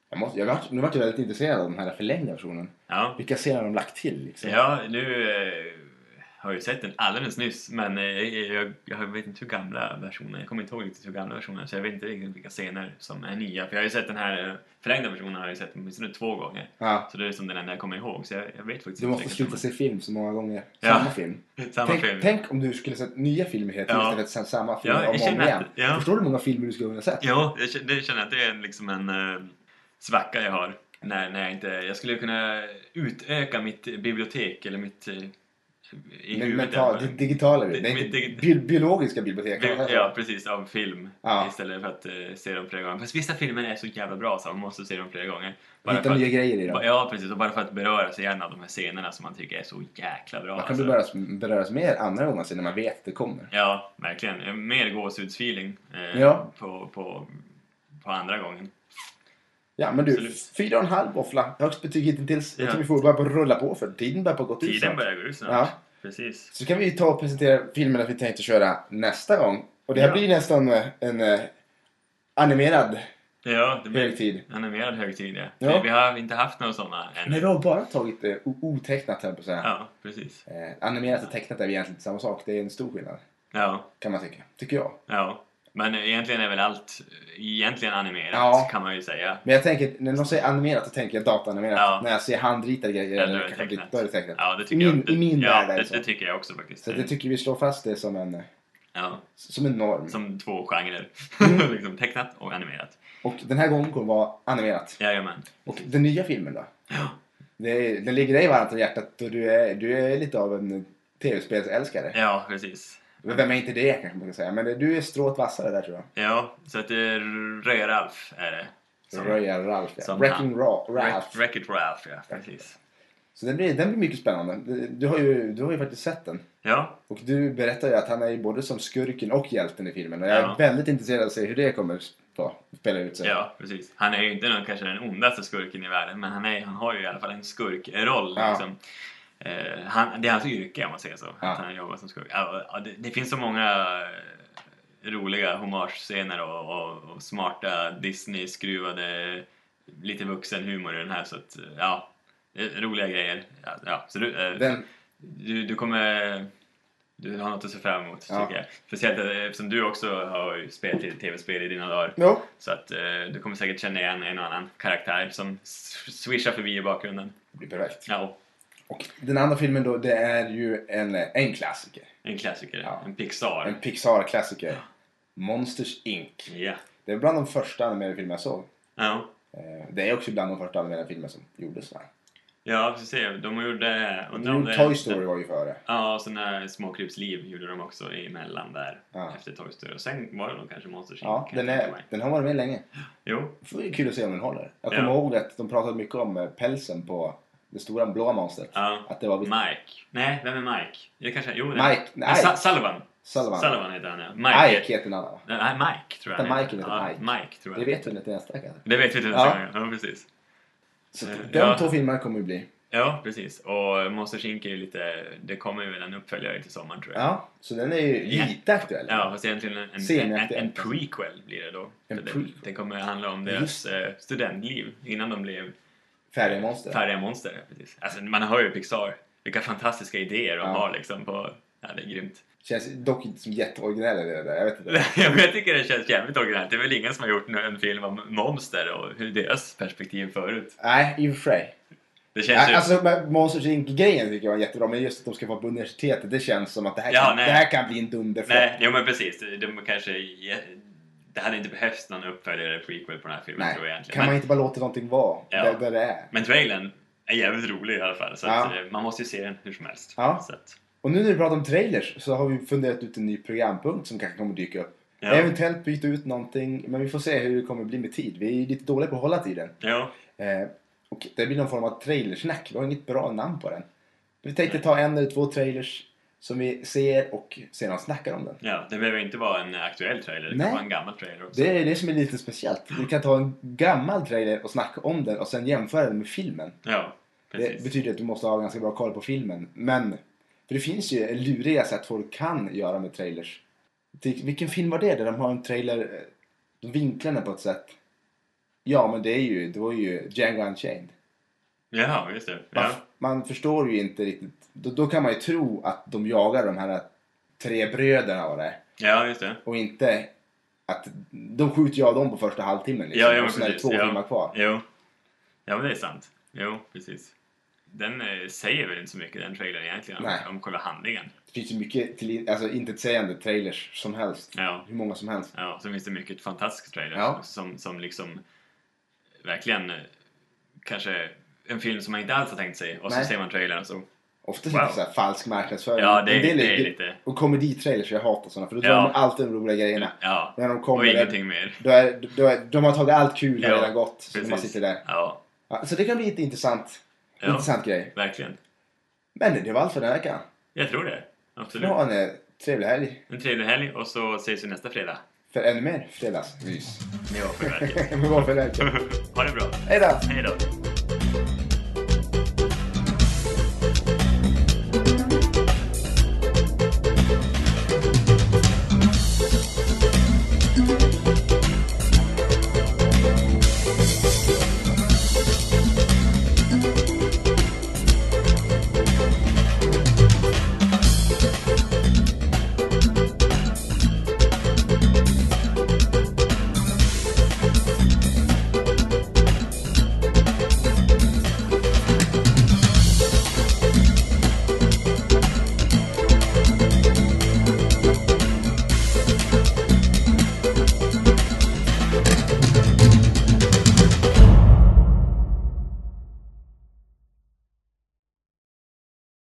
A: Jag måste, jag var, nu vart jag väldigt intresserad av den här förlängda versionen.
B: Ja.
A: Vilka scener har de lagt till liksom?
B: Ja, nu eh, har jag ju sett den alldeles nyss men eh, jag, jag vet inte hur gamla versionen, jag kommer inte ihåg riktigt hur gamla versionen är, så jag vet inte riktigt vilka scener som är nya. För jag har ju sett den här eh, förlängda versionen har jag ju sett åtminstone två gånger.
A: Ja.
B: Så det är som den enda jag kommer ihåg så jag, jag vet faktiskt
A: Du måste
B: riktigt
A: sluta
B: om-
A: se film så många gånger.
B: Ja.
A: Samma film.
B: Samma
A: tänk,
B: film.
A: tänk om du skulle sett nya filmer hela tiden
B: Ja.
A: istället för samma film
B: Ja, jag
A: om och om
B: känner
A: igen.
B: att- ja.
A: Förstår du hur många filmer du skulle kunna sett?
B: Ja, jag känner, det känner jag att det är en- liksom en eh, svacka jag har. När, när jag inte, jag skulle kunna utöka mitt bibliotek eller mitt eh, i
A: Men, men
B: huvudet.
A: ta det digitala, det,
B: Det-
A: är
B: mitt
A: inte
B: digi-
A: bi- biologiska bibliotek. kan man säga så?
B: Ja, precis. Av film.
A: Ja.
B: Istället för att eh, se dem flera gånger. Fast vissa filmer är så jävla bra så man måste se dem flera gånger.
A: Hitta
B: för
A: nya
B: att,
A: grejer i dem.
B: Ja, precis. Och bara för att beröra sig igen av de här scenerna som man tycker är så jäkla bra. alltså.
A: Man kan beröras, beröras mer andra gången sen när man vet att det kommer.
B: Ja, verkligen. Eh, Mer gåshudsfeeling eh,
A: Ja.
B: på, på, på andra gången.
A: Ja men du,
B: Absolut.
A: fyra och en halv våffla. Högst betyg hittills. Jag
B: Ja.
A: tror vi får börja på rulla på för tiden börjar på gå ut.
B: Tiden
A: snart.
B: börjar gå ut snart.
A: Ja.
B: Precis.
A: Så kan vi ta och presentera filmerna vi tänkte köra nästa gång. Och det här
B: Ja. Mm.
A: blir nästan eh, en eh, animerad
B: Ja, det
A: Hög tid.
B: animerad högtid ja.
A: Ja.
B: Vi, vi har inte haft några sådana än.
A: Nej, vi har bara tagit eh, o- otecknat höll jag på att säga.
B: Ja, precis.
A: Eh, animerat och tecknat är väl egentligen inte samma sak. Det är en stor skillnad.
B: Ja,
A: Kan man tycka. Tycker jag.
B: ja. Men egentligen är väl allt egentligen animerat
A: Ja.
B: kan man ju säga.
A: Men jag tänker, när någon säger animerat så tänker jag dataanimerat.
B: Ja.
A: När jag ser handritade grejer
B: Ja, då är
A: eller
B: det
A: kanske blivit-
B: tecknat.
A: då är det tecknat.
B: Ja, det tycker
A: I min-
B: jag. Det,
A: i min
B: ja,
A: värld är det
B: det,
A: så.
B: det tycker jag också faktiskt.
A: Så att jag tycker vi slår fast det som en, eh,
B: ja,
A: som en norm.
B: som två genrer.
A: Mm.
B: <laughs> liksom tecknat och animerat.
A: Och den här gången kommer vara animerat.
B: Jajamän.
A: Och den nya filmen då?
B: Ja.
A: Det, den ligger dig varmt om hjärtat och du är, du är lite av en tv-spelsälskare.
B: Ja, precis.
A: Vem är inte det kanske man kan säga. Men det- du är strået vassare där tror jag.
B: Ja, så att det är Röj-Ralf är det. Som-
A: Röja Ralph ja.
B: som
A: Wrecking Ra- Ralph.
B: Wreck- Wreck-It Ralph, ja. Precis.
A: Så den blir, den blir mycket spännande. Du- Du har, ju, du har ju faktiskt sett den.
B: Ja,
A: Och du berättar ju att han är ju både som skurken och hjälten i filmen. Och jag är
B: Ja.
A: väldigt intresserad av att se hur det kommer att spela ut sig.
B: Ja, precis. Han är ju inte någon, kanske den ondaste skurken i världen, men han, är, han har ju i alla fall en skurkroll.
A: Ja.
B: Liksom. Eh, han, det är hans yrke om man säger så,
A: Ja.
B: att han jobbar som skurk. Ja, ja, det, det finns så många eh, roliga hommage-scener och, och, och smarta Disney-skruvade, lite vuxen humor i den här. Så att, eh, ja, eh, roliga grejer. Ja, ja, så du, eh,
A: Den,
B: du, du kommer... Du har något att se fram emot,
A: Ja.
B: tycker jag. Speciellt eh, eftersom du också har ju spelat lite tv-spel i dina dagar.
A: jo,
B: Så att eh, du kommer säkert känna igen en och annan karaktär som s- swishar förbi i bakgrunden.
A: det blir perfekt.
B: Ja,
A: Och den andra filmen då, det är ju en, en klassiker.
B: en klassiker.
A: Ja.
B: En Pixar.
A: En Pixar-klassiker. Monsters Inc.
B: Ja.
A: Det är bland de första animerade filmer jag såg.
B: Ja.
A: Eh, Det är också bland de första animerade filmer som gjordes. va?
B: Ja, precis. De gjorde... undrar om det-
A: Toy Story var ju före.
B: Ja, och sen när Småkryps liv gjorde de också emellan där.
A: Ja.
B: Efter Toy Story. Och sen var det nog kanske Monsters Inc.
A: Ja,
B: kan jag
A: den,
B: tänka mig.
A: är, den har varit med länge.
B: Jo,
A: Det är kul att se om den håller. Jag
B: Ja.
A: kommer ihåg att de pratade mycket om eh, pälsen på det stora blåa monstret.
B: Ja.
A: Att det var vitt.
B: Mike. Nej, vem är Mike? Det kanske... Jo, det
A: Mike.
B: Nej, Sa- Sullivan.
A: Sullivan.
B: Sullivan heter han, ja. Mike.
A: Ike heter den andra. va?
B: Nej, Mike tror jag.
A: Utan
B: han
A: Mike heter
B: ja,
A: Mike.
B: Mike tror jag.
A: Det vet vi inte nästa kanske.
B: Det vet vi till nästa
A: Ja.
B: gång. Ja, precis.
A: Så
B: Eh,
A: de
B: ja.
A: två filmerna kommer ju bli.
B: Ja, precis. Och Monsters Inc är ju lite... Det kommer ju väl en uppföljare till sommaren tror jag.
A: Ja, så den är ju
B: Ja.
A: lite aktuell.
B: Ja, fast egentligen en, en, en,
A: Semiaktuell.
B: en prequel blir det då.
A: En
B: För det,
A: prequel.
B: det kommer handla om
A: Just
B: deras eh, studentliv innan de blev
A: Färdiga monster.
B: färdiga monster. ja, Precis. Alltså, man hör ju Pixar. Vilka fantastiska idéer de
A: Ja.
B: har liksom på... Ja, det är grymt. <laughs>
A: Känns dock inte som jätteoriginella det där. Jag vet inte.
B: Ja, men jag tycker det känns jävligt originellt. Det är väl ingen som har gjort en film om monster och hur deras perspektiv förut.
A: Nej, i och för sig.
B: Det känns
A: Nej,
B: ju...
A: Alltså men Monsters Inc-grejen tycker jag var jättebra. Men just att de ska vara på universitetet. Det känns som att det här,
B: Ja,
A: kan, det
B: nej.
A: här kan bli en dunderflopp.
B: Nej, jo men precis. De, de kanske... Det hade inte behövts någon uppföljare prequel på den här filmen
A: Nej.
B: tror jag egentligen.
A: Kan
B: Men-
A: man inte bara låta någonting vara
B: Ja.
A: där, där det är?
B: Men trailern är jävligt rolig i alla fall. Så
A: Ja.
B: att, eh, man måste ju se den hur som helst.
A: Ja.
B: Så att,
A: Och nu när vi pratar om trailers så har vi funderat ut en ny programpunkt som kanske kommer dyka upp.
B: Ja.
A: Eventuellt byta ut någonting, men vi får se hur det kommer bli med tid. Vi är ju lite dåliga på att hålla tiden.
B: ja.
A: Eh, och det blir någon form av trailersnack. Vi har inget bra namn på den. Vi tänkte ta en eller två trailers som vi ser och sedan snackar om den.
B: ja, det behöver inte vara en aktuell trailer. Det
A: Nej.
B: kan vara en gammal trailer också.
A: Det är det som är lite speciellt. Vi kan ta en gammal trailer och snacka om den och sen jämföra den med filmen.
B: Ja,
A: Det
B: precis.
A: betyder att du måste ha ganska bra koll på filmen. Men, för det finns ju luriga sätt folk kan göra med trailers. Till- Vilken film var det där de har en trailer, eh, de vinklar den på ett sätt? Ja, men det är ju, det var ju Django Unchained.
B: Ja, just det.
A: Man,
B: Ja.
A: man förstår ju inte riktigt. Då, då kan man ju tro att de jagar de här tre bröderna och det.
B: ja, just det.
A: Och inte att de skjuter ju av dem på första halvtimmen. Liksom.
B: Ja, ja,
A: och
B: men
A: sen är det
B: precis.
A: två
B: ja.
A: timmar kvar.
B: Jo. Ja, men det är sant. Jo, precis. Den eh, säger väl inte så mycket, den trailern egentligen, om,
A: Nej.
B: om själva handlingen.
A: Det finns ju mycket till, alltså, intetsägande trailers som helst.
B: Ja.
A: Hur många som helst.
B: Ja, så finns det mycket fantastiska trailers
A: Ja.
B: också som, som liksom verkligen eh, kanske en film som man inte alls har tänkt sig och så
A: Nej.
B: ser man trailern och så
A: Ofta
B: Wow.
A: lite så här falsk marknadsföring.
B: Ja, det är-
A: En del
B: det är lite-
A: Och komeditrailers, jag hatar sådana. För då drar
B: Ja.
A: de alltid de roliga grejerna.
B: ja,
A: När de
B: och
A: kommer där,
B: ingenting mer.
A: då är, då är, de har tagit allt kul och
B: Ja,
A: redan gått. Så man
B: Precis.
A: sitter där.
B: Ja,
A: Ja, så det kan bli ett intressant,
B: Ja.
A: intressant grej.
B: verkligen.
A: Men det var allt för den här veckan.
B: Jag tror det. Absolut.
A: Ha en eh, trevlig helg.
B: En trevlig helg och så ses vi nästa fredag.
A: För ännu mer fredagsmys. <laughs>
B: Med Vårförverket.
A: Med vår förverkan.
B: <laughs> ha det bra.
A: Hej då!
B: Hej då.